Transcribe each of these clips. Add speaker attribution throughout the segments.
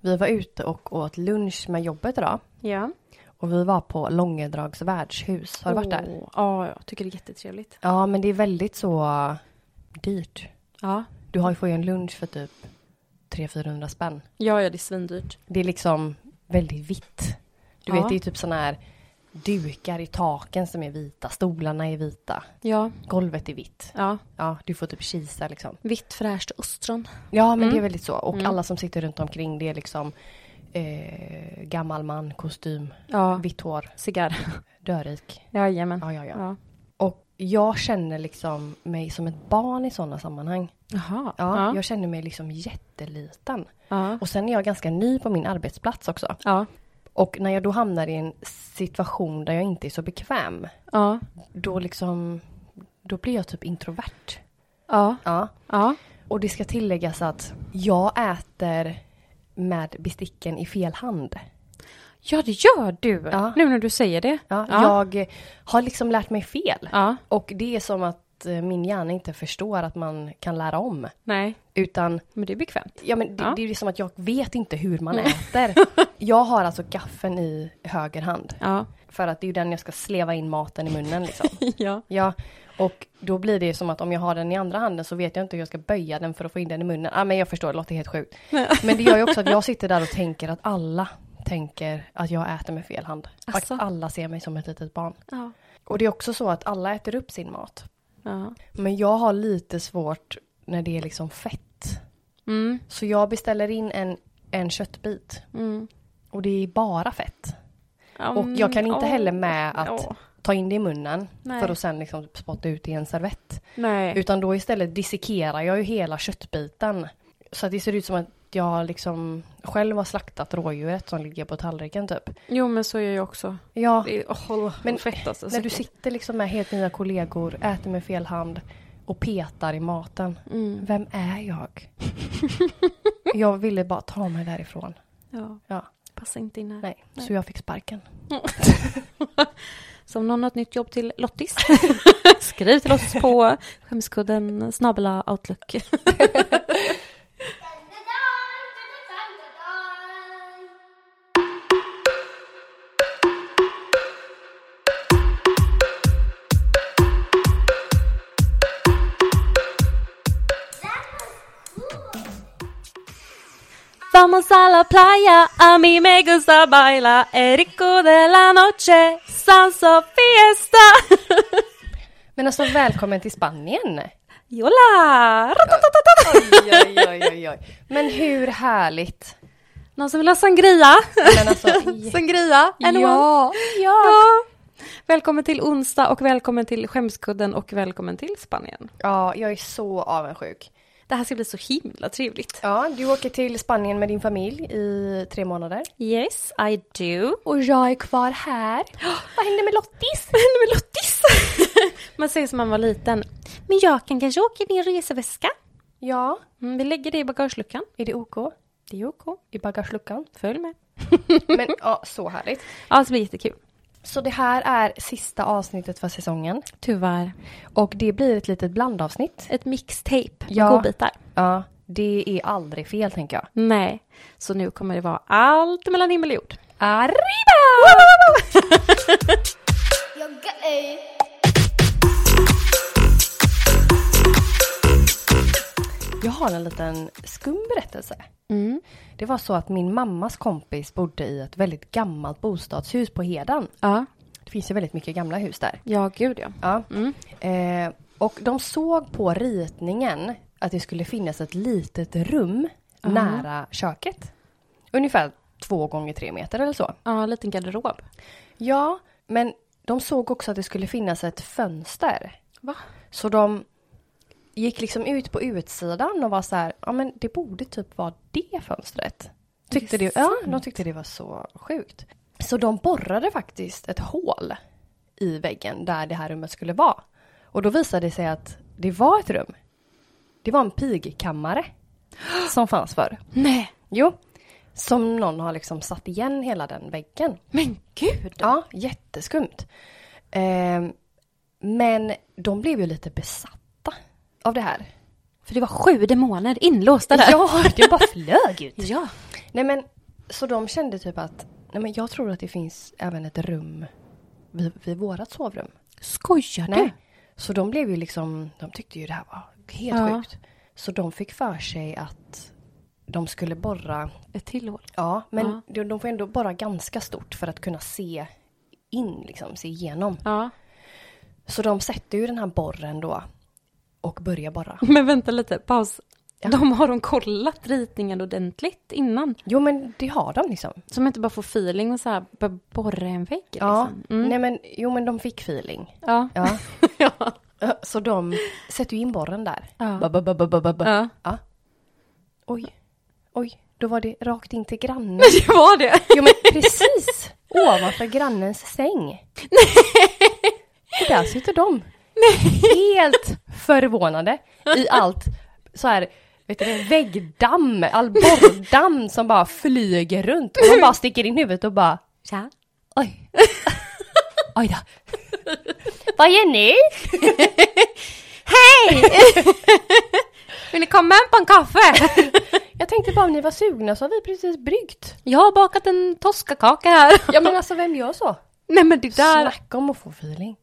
Speaker 1: Vi var ute och åt lunch med jobbet idag.
Speaker 2: Ja.
Speaker 1: Och vi var på Långedrags värdshus. Har du varit där?
Speaker 2: Åh, Ja, jag tycker det är jättetrevligt.
Speaker 1: Ja, men det är väldigt så äh, dyrt.
Speaker 2: Ja.
Speaker 1: Du har ju fått en lunch för typ 300-400 spänn.
Speaker 2: Ja, ja, det är svindyrt.
Speaker 1: Det är liksom väldigt vitt. Du
Speaker 2: Ja.
Speaker 1: vet, det är typ såna här dukar i taken som är vita, stolarna är vita,
Speaker 2: Ja,
Speaker 1: golvet är vitt.
Speaker 2: ja.
Speaker 1: Ja, du får typ kisa liksom.
Speaker 2: Vitt fräscht ostron.
Speaker 1: Ja, men
Speaker 2: Mm.
Speaker 1: det är väldigt så. Och alla som sitter runt omkring det är liksom eh, gammal man, kostym,
Speaker 2: Ja.
Speaker 1: vitt hår,
Speaker 2: Cigarr.
Speaker 1: dörrik.
Speaker 2: Jajamän.
Speaker 1: Ja, ja, ja.
Speaker 2: Ja.
Speaker 1: Och jag känner liksom mig som ett barn i sådana sammanhang.
Speaker 2: Jaha.
Speaker 1: Ja,
Speaker 2: Ja.
Speaker 1: Jag känner mig liksom jätteliten.
Speaker 2: Ja.
Speaker 1: Och sen är jag ganska ny på min arbetsplats också.
Speaker 2: Ja.
Speaker 1: Och när jag då hamnar i en situation där jag inte är så bekväm,
Speaker 2: Ja.
Speaker 1: då liksom, då blir jag typ introvert.
Speaker 2: Ja.
Speaker 1: Ja.
Speaker 2: Ja.
Speaker 1: Och det ska tilläggas att jag äter med besticken i fel hand.
Speaker 2: Ja, det gör du.
Speaker 1: Ja.
Speaker 2: Nu när du säger det.
Speaker 1: Ja,
Speaker 2: Ja.
Speaker 1: Jag har liksom lärt mig fel.
Speaker 2: Ja.
Speaker 1: Och det är som att eh, min hjärna inte förstår att man kan lära om.
Speaker 2: Nej,
Speaker 1: Utan
Speaker 2: men det är bekvämt.
Speaker 1: Ja men det,
Speaker 2: Ja.
Speaker 1: det är ju som att jag vet inte hur man äter. Jag har alltså gaffeln i höger hand.
Speaker 2: Ja.
Speaker 1: För att det är ju den jag ska sleva in maten i munnen liksom.
Speaker 2: ja.
Speaker 1: Ja, och då blir det som att om jag har den i andra handen så vet jag inte hur jag ska böja den för att få in den i munnen. Ja ah, men jag förstår, det låter helt sjukt. Men det gör ju också att jag sitter där och tänker att alla tänker att jag äter med fel hand. Och
Speaker 2: Asså?
Speaker 1: Att alla ser mig som ett litet barn.
Speaker 2: Ja.
Speaker 1: Och det är också så att alla äter upp sin mat.
Speaker 2: Ja.
Speaker 1: Men jag har lite svårt när det är liksom fett.
Speaker 2: Mm.
Speaker 1: Så jag beställer in en, en köttbit
Speaker 2: Mm.
Speaker 1: och det är bara fett.
Speaker 2: Ja, mm,
Speaker 1: Och jag kan inte
Speaker 2: åh.
Speaker 1: heller med att
Speaker 2: Åh.
Speaker 1: ta in det i munnen
Speaker 2: Nej.
Speaker 1: för att sen liksom spotta ut i en servett.
Speaker 2: Nej.
Speaker 1: Utan då istället dissekerar jag ju hela köttbiten. Så att det ser ut som att jag liksom själv har slaktat rådjuret som ligger på tallriken typ.
Speaker 2: Jo, men så gör jag också.
Speaker 1: Ja,
Speaker 2: Det är, oh,
Speaker 1: Men
Speaker 2: men fett alltså.
Speaker 1: när du
Speaker 2: säkert.
Speaker 1: sitter liksom med helt nya kollegor, äter med fel hand och petar i maten.
Speaker 2: Mm.
Speaker 1: Vem är jag? jag ville bara ta mig därifrån.
Speaker 2: Ja.
Speaker 1: Ja.
Speaker 2: Passa inte in här.
Speaker 1: Nej, så jag fick sparken.
Speaker 2: Så om någon har ett nytt jobb till Lottis, skriv till oss på skämskudden snabela outlook. Vamos a la playa, a mí me gusta baila, Erico de la noche, salsa fiesta.
Speaker 1: Men alltså välkommen till Spanien!
Speaker 2: Jola!
Speaker 1: Oj, oj, oj, oj, oj. Men hur härligt!
Speaker 2: Någon som vill ha sangria?
Speaker 1: Men alltså,
Speaker 2: Sangria? Anyone?
Speaker 1: ja, ja.
Speaker 2: ja! Välkommen till onsdag och välkommen till skämskudden och välkommen till Spanien.
Speaker 1: ja, jag är så avundsjuk.
Speaker 2: Det här ska bli så himla trevligt.
Speaker 1: Ja, du åker till Spanien med din familj i tre månader.
Speaker 2: Yes, I do.
Speaker 1: Och jag är kvar här. Vad händer med Lottis?
Speaker 2: Vad hände med Lottis? man säger som man var liten. Men jag kan kanske åka i din reseväska.
Speaker 1: Ja,
Speaker 2: Mm, vi lägger det i bagageluckan.
Speaker 1: är det OK?
Speaker 2: Det är okej.
Speaker 1: I bagageluckan?
Speaker 2: Följ med.
Speaker 1: Men ja, så härligt.
Speaker 2: Ja, det blir jättekul.
Speaker 1: Så det här är sista avsnittet för säsongen.
Speaker 2: Tyvärr.
Speaker 1: Och det blir ett litet blandavsnitt.
Speaker 2: Ett mixtape med
Speaker 1: Ja.
Speaker 2: godbitar.
Speaker 1: Ja, det är aldrig fel tänker jag.
Speaker 2: Nej, så nu kommer det vara allt mellan himmel och jord.
Speaker 1: Arriba!
Speaker 3: Jag är
Speaker 1: Jag har en liten skum berättelse. Det var så att min mammas kompis bodde i ett väldigt gammalt bostadshus på Hedan.
Speaker 2: Ja.
Speaker 1: Det finns ju väldigt mycket gamla hus där.
Speaker 2: Ja, gud ja.
Speaker 1: Ja. Eh, och de såg på ritningen att det skulle finnas ett litet rum nära köket. Ungefär två gånger tre meter eller så.
Speaker 2: Ja, en liten garderob.
Speaker 1: Ja, men de såg också att det skulle finnas ett fönster.
Speaker 2: Va?
Speaker 1: Så de gick liksom ut på utsidan och var så här, ja men det borde typ vara det fönstret. Tyckte
Speaker 2: Är det
Speaker 1: det, ja, de tyckte det var så sjukt. Så de borrade faktiskt ett hål i väggen där det här rummet skulle vara. Och då visade det sig att det var ett rum. Det var en pigkammare som fanns förr.
Speaker 2: Nej,
Speaker 1: Jo, som någon har liksom satt igen hela den väggen.
Speaker 2: men gud!
Speaker 1: Ja, jätteskumt. Ehm, men de blev ju lite besatta av det här.
Speaker 2: För det var sju demoner inlåsta där.
Speaker 1: Ja, det bara flög ut.
Speaker 2: ja.
Speaker 1: Nej men, så de kände typ att, nej men jag tror att det finns även ett rum vid, vid vårat sovrum.
Speaker 2: Skojar du?
Speaker 1: Nej. Så de blev ju liksom, de tyckte ju det här var helt
Speaker 2: Ja.
Speaker 1: sjukt. Så de fick för sig att de skulle borra,
Speaker 2: Ett till hål.
Speaker 1: ja men
Speaker 2: Ja.
Speaker 1: De, de får ändå borra ganska stort för att kunna se in liksom, se igenom.
Speaker 2: Ja.
Speaker 1: Så de sätter ju den här borren då och börjar borra.
Speaker 2: Men vänta lite, paus.
Speaker 1: Ja.
Speaker 2: De har de kollat ritningen ordentligt innan?
Speaker 1: Jo men det har de liksom.
Speaker 2: Så man inte bara får feeling och så här börja borra en vägg
Speaker 1: Ja,
Speaker 2: liksom. Mm.
Speaker 1: nej men jo men de fick feeling.
Speaker 2: Ja.
Speaker 1: Ja.
Speaker 2: Ja.
Speaker 1: Så de sätter ju in borren där.
Speaker 2: Ja.
Speaker 1: Ba, ba, ba, ba, ba, ba, ba.
Speaker 2: Ja.
Speaker 1: Ja. Oj, oj, då var det rakt in till grannen.
Speaker 2: Det var det.
Speaker 1: Jo men precis! Ovanför grannens säng. Och där sitter de. Helt förvånade i allt så här, vet du det, väggdamm, all borrdamm som bara flyger runt. Och de bara sticker in huvudet och bara
Speaker 2: Tja.
Speaker 1: Oj. Oj då. Vad gör ni?
Speaker 2: Vill ni komma hem på en kaffe?
Speaker 1: Jag tänkte bara om ni var sugna så har vi precis bryggt.
Speaker 2: Jag har bakat en toskakaka här.
Speaker 1: Ja men alltså vem gör så?
Speaker 2: Nej men det där.
Speaker 1: Snacka om att få feeling.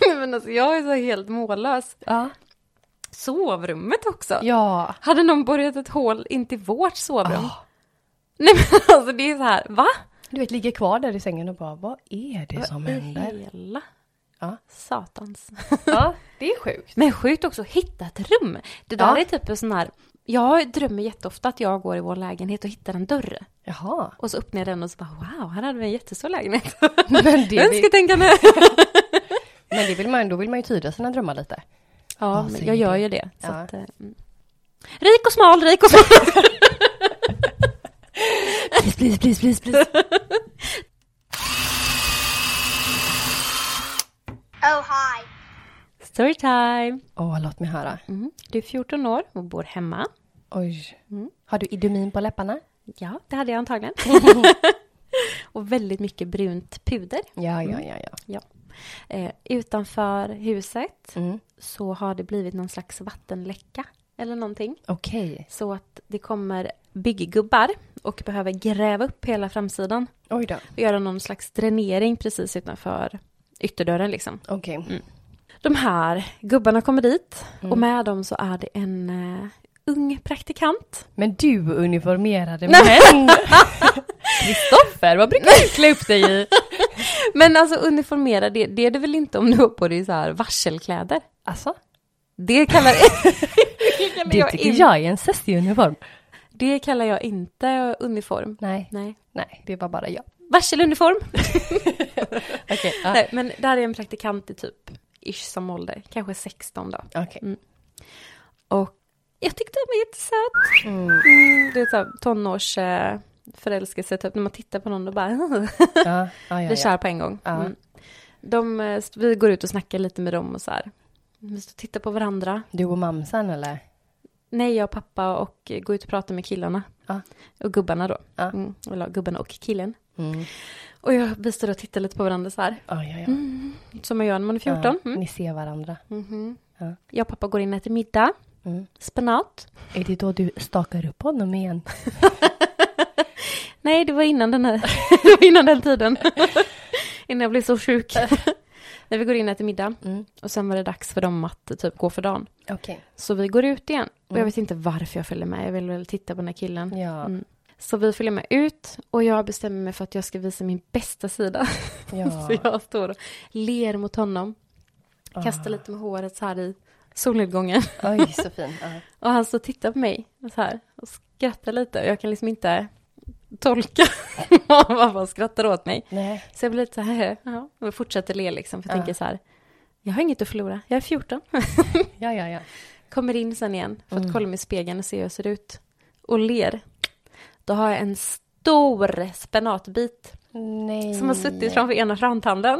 Speaker 2: men alltså jag är så helt mållös.
Speaker 1: Ja.
Speaker 2: Sovrummet också.
Speaker 1: Ja.
Speaker 2: Hade någon borrat ett hål in till vårt sovrum?
Speaker 1: Ah.
Speaker 2: Nej men alltså det är så här, va?
Speaker 1: Du vet, ligger kvar där i sängen och bara, vad är det som händer?
Speaker 2: Hela
Speaker 1: Ja.
Speaker 2: satans.
Speaker 1: Ja, det är sjukt.
Speaker 2: Men sjukt också, hitta ett rum. Det där
Speaker 1: Ja.
Speaker 2: är typ en sån här, jag drömmer jätteofta att jag går i vår lägenhet och hittar en dörr.
Speaker 1: Jaha.
Speaker 2: Och så öppnar jag den och så bara wow, här hade vi en jättestor lägenhet.
Speaker 1: Men det, vill,
Speaker 2: Önsketänkande!
Speaker 1: men det vill man, då vill man ju tyda sina drömmar lite.
Speaker 2: Ja,
Speaker 1: säg
Speaker 2: men jag gör
Speaker 1: det.
Speaker 2: ju det. Så
Speaker 1: Ja.
Speaker 2: att, eh, mm. Rik och smal, rik och smal.
Speaker 1: Please, please, please, please, please.
Speaker 3: Oh, hi.
Speaker 2: Storytime!
Speaker 1: Åh, låt mig höra.
Speaker 2: Mm. Du är 14 år och bor hemma.
Speaker 1: Oj. Har du idumin på läpparna?
Speaker 2: Ja, det hade jag antagligen. och väldigt mycket brunt puder.
Speaker 1: Ja, ja, ja, ja.
Speaker 2: Ja. Eh, utanför huset
Speaker 1: Mm.
Speaker 2: så har det blivit någon slags vattenläcka eller någonting.
Speaker 1: Okej.
Speaker 2: Så att det kommer bygggubbar och behöver gräva upp hela framsidan
Speaker 1: Oj då.
Speaker 2: och göra någon slags dränering precis utanför ytterdörren liksom.
Speaker 1: Okej.
Speaker 2: De här gubbarna kommer dit
Speaker 1: Mm.
Speaker 2: och med dem så är det en eh, ung praktikant.
Speaker 1: Men du uniformerade män! Kristoffer, vad brukar du klä upp dig i?
Speaker 2: Men alltså uniformerad, det, det är det väl inte om du har på dig så här varselkläder?
Speaker 1: Alltså,
Speaker 2: Det kallar, det kallar
Speaker 1: det
Speaker 2: jag
Speaker 1: tycker
Speaker 2: in,
Speaker 1: jag är en sessig uniform.
Speaker 2: Det kallar jag inte uniform.
Speaker 1: Nej,
Speaker 2: Nej.
Speaker 1: nej, det var bara jag.
Speaker 2: Varseluniform.
Speaker 1: Okej, ja.
Speaker 2: Nej, men där är en praktikant i typ ish som ålder, kanske 16 då.
Speaker 1: Okej.
Speaker 2: Och jag tyckte han var jättesöt. Mm, det är så här tonårs eh, förälskelse, typ när man tittar på någon och bara
Speaker 1: Ja, ja, ja,
Speaker 2: blir
Speaker 1: ja.
Speaker 2: kär på en gång.
Speaker 1: Ja.
Speaker 2: Mm. De, eh, st- vi går ut och snackar lite med dem och så här. Vi står och tittar på varandra.
Speaker 1: Du och mamsen eller?
Speaker 2: Nej, jag och pappa och eh, går ut och pratar med killarna.
Speaker 1: Ja.
Speaker 2: Och gubbarna då.
Speaker 1: Ja.
Speaker 2: Mm, eller gubben och killen.
Speaker 1: Mm.
Speaker 2: Och jag, vi står och tittar lite på varandra så här.
Speaker 1: Ja, ja, ja.
Speaker 2: Som man gör när man är 14.
Speaker 1: Ja,
Speaker 2: Mm.
Speaker 1: Ni ser varandra.
Speaker 2: Mhm.
Speaker 1: Ja.
Speaker 2: Jag och pappa går in och äter middag.
Speaker 1: Mm.
Speaker 2: Spenat.
Speaker 1: Är det då du stakar upp honom igen?
Speaker 2: Nej, det var innan den här, det var innan den tiden. innan jag blev så sjuk. När vi går in och äter middag.
Speaker 1: Mm.
Speaker 2: Och sen var det dags för dem att typ gå för dagen.
Speaker 1: Okej.
Speaker 2: Så vi går ut igen. Och jag vet inte varför jag följer med. Jag vill väl titta på den här killen.
Speaker 1: Ja,
Speaker 2: Mm. Så vi följer med ut och jag bestämmer mig för att jag ska visa min bästa sida. Så
Speaker 1: ja. Ah.
Speaker 2: jag står och ler mot honom. Kastar lite med håret så här i solnedgången.
Speaker 1: Oj, så fin. Ja.
Speaker 2: Och han står och tittar på mig så här och skrattar lite. Och jag kan liksom inte tolka varför han skrattar åt mig.
Speaker 1: Nej.
Speaker 2: Så jag blir lite så här, ja, och fortsätter le liksom, för jag
Speaker 1: Ja.
Speaker 2: tänker så här, jag har inget att förlora, jag är 14.
Speaker 1: Ja, ja, ja.
Speaker 2: Kommer in sen igen för att
Speaker 1: Mm.
Speaker 2: kolla mig i spegeln och se hur jag ser ut. Och ler. Då har jag en stor spenatbit
Speaker 1: Nej.
Speaker 2: som
Speaker 1: Mm.
Speaker 2: har suttit framför ena framtanden.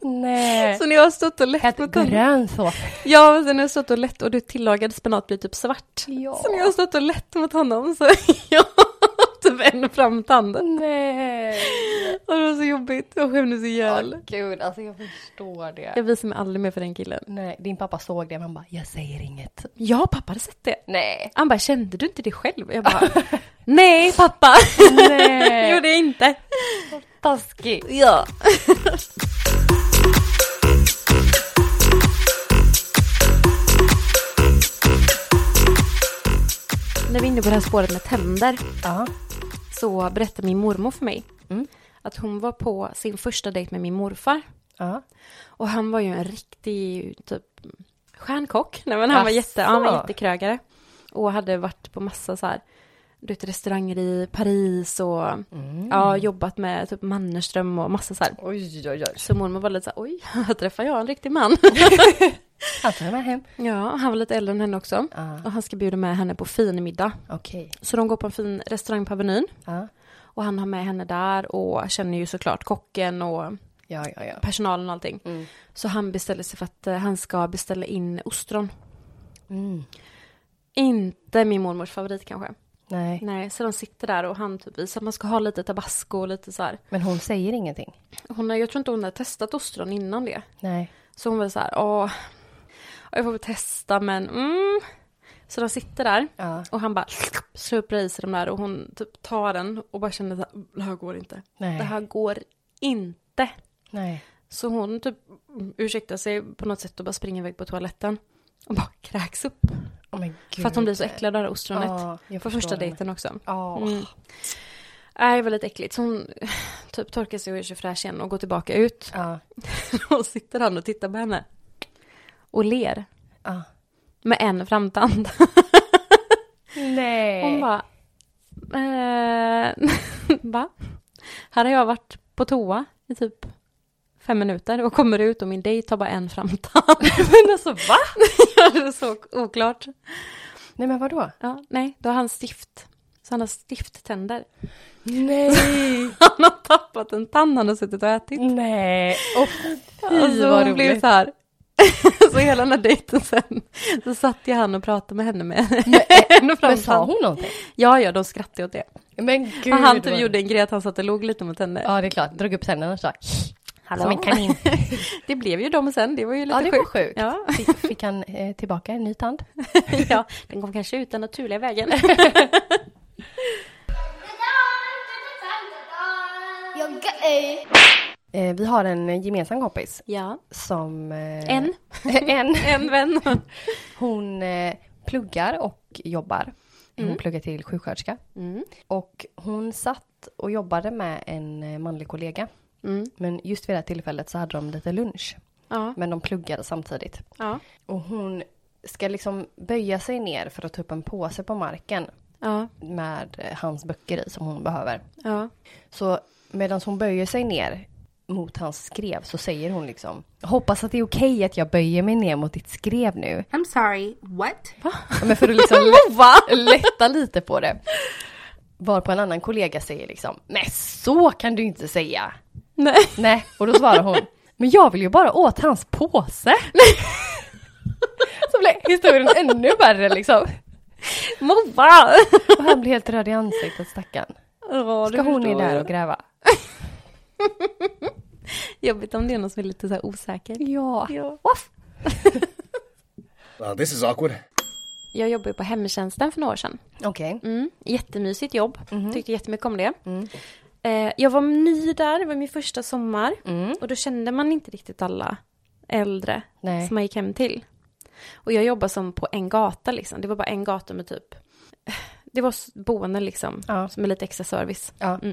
Speaker 1: Nej.
Speaker 2: så när jag har stått och lett
Speaker 1: Helt
Speaker 2: mot den,
Speaker 1: grön så.
Speaker 2: ja, så när jag har stått och lett och det tillagade spenat blir typ svart.
Speaker 1: Ja.
Speaker 2: Så när jag har stått och lett mot honom så jag har typ en framtand.
Speaker 1: Nej.
Speaker 2: Och det var så jobbigt. Jag skämdes ihjäl.
Speaker 1: Åh, gud, alltså jag förstår
Speaker 2: Jag
Speaker 1: det.
Speaker 2: visar mig aldrig mer för den killen.
Speaker 1: Nej, din pappa såg det men han bara, jag säger inget.
Speaker 2: Ja, pappa hade sett det.
Speaker 1: Nej.
Speaker 2: Han bara, kände du inte det själv? Jag bara, nej pappa.
Speaker 1: Nej.
Speaker 2: Gjorde jag inte.
Speaker 1: Taskig.
Speaker 2: Ja. När vi är inne på det här spåret med tänder
Speaker 1: Ja.
Speaker 2: så berättade min mormor för mig
Speaker 1: Mm.
Speaker 2: att hon var på sin första dejt med min morfar.
Speaker 1: Ja.
Speaker 2: Och han var ju en riktig typ stjärnkock. Nej, men han, var jätte,
Speaker 1: Asså?
Speaker 2: han var jättekrögare. Och hade varit på massa så här, du vet restauranger i Paris och
Speaker 1: Mm.
Speaker 2: ja, jobbat med typ Mannerström och massa så här.
Speaker 1: Oj, oj, oj.
Speaker 2: Så mormor var lite så här, oj, här träffar jag en riktig man?
Speaker 1: Han tar med hem.
Speaker 2: ja, han var lite äldre än henne också.
Speaker 1: Ja.
Speaker 2: Och han ska bjuda med henne på fin middag.
Speaker 1: Okej.
Speaker 2: Så de går på en fin restaurang på Avenyn.
Speaker 1: Ja.
Speaker 2: Och han har med henne där och känner ju såklart kocken och
Speaker 1: Ja, ja, ja.
Speaker 2: personalen och allting.
Speaker 1: Mm.
Speaker 2: Så han beställer sig för att eh, han ska beställa in ostron.
Speaker 1: Mm.
Speaker 2: Inte min mormors favorit kanske.
Speaker 1: Nej.
Speaker 2: Nej, så de sitter där och han typ visar att man ska ha lite tabasco och lite så här.
Speaker 1: Men hon säger ingenting.
Speaker 2: Hon, har- jag tror inte hon har testat ostron innan det.
Speaker 1: Nej.
Speaker 2: Så hon var så här, åh, jag får väl testa men mm. Så de sitter där
Speaker 1: Ja.
Speaker 2: och han bara släpper i sig de där och hon typ tar den och bara känner så här, det här går inte.
Speaker 1: Nej.
Speaker 2: Det här går inte.
Speaker 1: Nej.
Speaker 2: Så hon typ ursäktar sig på något sätt och bara springer iväg på toaletten. Och bara kräks upp.
Speaker 1: Oh, men gud.
Speaker 2: För att hon blir så äcklad av det här ostronet.
Speaker 1: Ja, jag förstår
Speaker 2: på första
Speaker 1: henne.
Speaker 2: dejten också.
Speaker 1: Ja.
Speaker 2: Mm. Nej, väldigt äckligt. Så hon eh, typ torkar sig och gör sig fräsch igen och går tillbaka ut.
Speaker 1: Ja.
Speaker 2: Och sitter han och tittar på henne. Och ler.
Speaker 1: Ja.
Speaker 2: Med en framtand.
Speaker 1: Nej.
Speaker 2: Hon bara... Eh, va? Här har jag varit på toa i typ fem minuter och kommer ut och min dejt har bara en framtand.
Speaker 1: men alltså va?
Speaker 2: det är så oklart.
Speaker 1: Nej men vadå?
Speaker 2: Ja, nej, då har han stift. Så han har stifttänder.
Speaker 1: Nej.
Speaker 2: Han har tappat en tand han har suttit och ätit.
Speaker 1: Nej. Och fy
Speaker 2: Alltså,
Speaker 1: vad
Speaker 2: hon blev
Speaker 1: roligt.
Speaker 2: så här. så hela den här dejten sen, så satt jag han och pratade med henne med en
Speaker 1: Men sa
Speaker 2: framtand.
Speaker 1: hon någonting?
Speaker 2: Ja, ja, de skrattade åt det.
Speaker 1: Men gud.
Speaker 2: och han typ
Speaker 1: vad-
Speaker 2: gjorde en grej att han satt och låg lite mot henne.
Speaker 1: Ja det är klart, drog upp tänderna och sa
Speaker 2: Hallå.
Speaker 1: som en kanin.
Speaker 2: Det blev ju de sen, det var ju lite
Speaker 1: Ja det var
Speaker 2: sjukt.
Speaker 1: sjukt.
Speaker 2: Ja.
Speaker 1: Fick, fick han eh, tillbaka en ny tand?
Speaker 2: ja, den kom kanske ut den naturliga vägen.
Speaker 3: Jag gay.
Speaker 1: Eh, vi har en eh, gemensam kompis
Speaker 2: ja,
Speaker 1: som... eh,
Speaker 2: en,
Speaker 1: en.
Speaker 2: en vän.
Speaker 1: Hon eh, pluggar och jobbar. Hon pluggar till sjuksköterska.
Speaker 2: Mm.
Speaker 1: Och hon satt och jobbade med en eh, manlig kollega.
Speaker 2: Mm.
Speaker 1: Men just vid det här tillfället så hade de lite lunch.
Speaker 2: Ja,
Speaker 1: Men de pluggade samtidigt.
Speaker 2: ja,
Speaker 1: Och hon ska liksom böja sig ner för att ta upp en påse på marken
Speaker 2: ja,
Speaker 1: med eh, hans böcker i som hon behöver.
Speaker 2: ja.
Speaker 1: Så medan hon böjer sig ner mot hans skrev så säger hon liksom Hoppas att det är okej att jag böjer mig ner mot ditt skrev nu.
Speaker 4: I'm sorry, what?
Speaker 1: Ja, Men för att liksom lätta, lätta lite på det. Varpå en annan kollega säger liksom Nej så kan du inte säga.
Speaker 2: Nej.
Speaker 1: Nej, och då svarar hon Men jag vill ju bara åt hans påse. Så blev historien ännu värre liksom.
Speaker 2: Mova!
Speaker 1: Och han blir helt röd i ansiktet stackarn.
Speaker 2: Oh,
Speaker 1: Ska hon ner där och gräva?
Speaker 2: Jobbigt om det är någon som är lite så här osäker.
Speaker 1: Ja.
Speaker 2: Ja.
Speaker 5: Well, Uh, this is awkward.
Speaker 2: Jag jobbade ju på hemtjänsten för några år sedan.
Speaker 1: Okej.
Speaker 2: Mm, jättemysigt jobb.
Speaker 1: Mhm.
Speaker 2: Tyckte jättemycket om det.
Speaker 1: Mm.
Speaker 2: Eh, jag var ny där, det var min första sommar.
Speaker 1: Mm.
Speaker 2: Och då kände man inte riktigt alla äldre
Speaker 1: Nej.
Speaker 2: som man gick hem till. Och jag jobbade som på en gata liksom. Det var bara en gata med typ... Det var s- boenden liksom,
Speaker 1: Ja.
Speaker 2: som är lite extra service. Mm.
Speaker 1: Ja.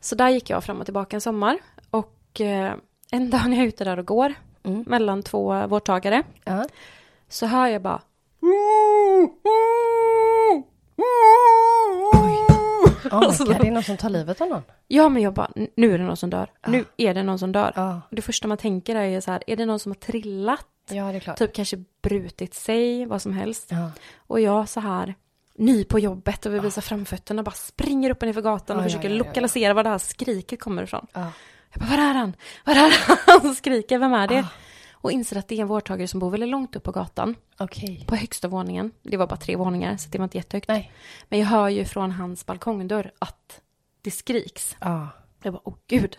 Speaker 2: Så där gick jag fram och tillbaka en sommar. Och eh, en dag när jag är ute där och går,
Speaker 1: Mm.
Speaker 2: mellan två vårdtagare,
Speaker 1: Ja.
Speaker 2: så hör jag bara...
Speaker 1: Oh my God, det är någon som tar livet av någon.
Speaker 2: Ja, men jag bara, nu är det någon som dör.
Speaker 1: Ah.
Speaker 2: Nu är det någon som dör.
Speaker 1: Ja.
Speaker 2: Och det första man tänker är ju så här, är det någon som har trillat?
Speaker 1: Ja, det är klart.
Speaker 2: Typ kanske brutit sig, vad som helst.
Speaker 1: Ja. Ah.
Speaker 2: Och jag så här, ny på jobbet och vill visa framfötterna, bara springer upp och ner för gatan och
Speaker 1: Ja, ja,
Speaker 2: försöker
Speaker 1: ja, Ah. ja, ja.
Speaker 2: lokalisera var det här skriket kommer ifrån.
Speaker 1: Ja.
Speaker 2: Jag bara, var är han? Var är han? Som skriker, vem är det?
Speaker 1: Ah.
Speaker 2: Och inser att det är en vårdtagare som bor väldigt långt upp på gatan,
Speaker 1: Okej.
Speaker 2: på högsta våningen. Det var bara tre våningar, så det var inte jättehögt.
Speaker 1: Nej.
Speaker 2: Men jag hör ju från hans balkongdörr att det skriks.
Speaker 1: Ja.
Speaker 2: Jag bara, åh gud.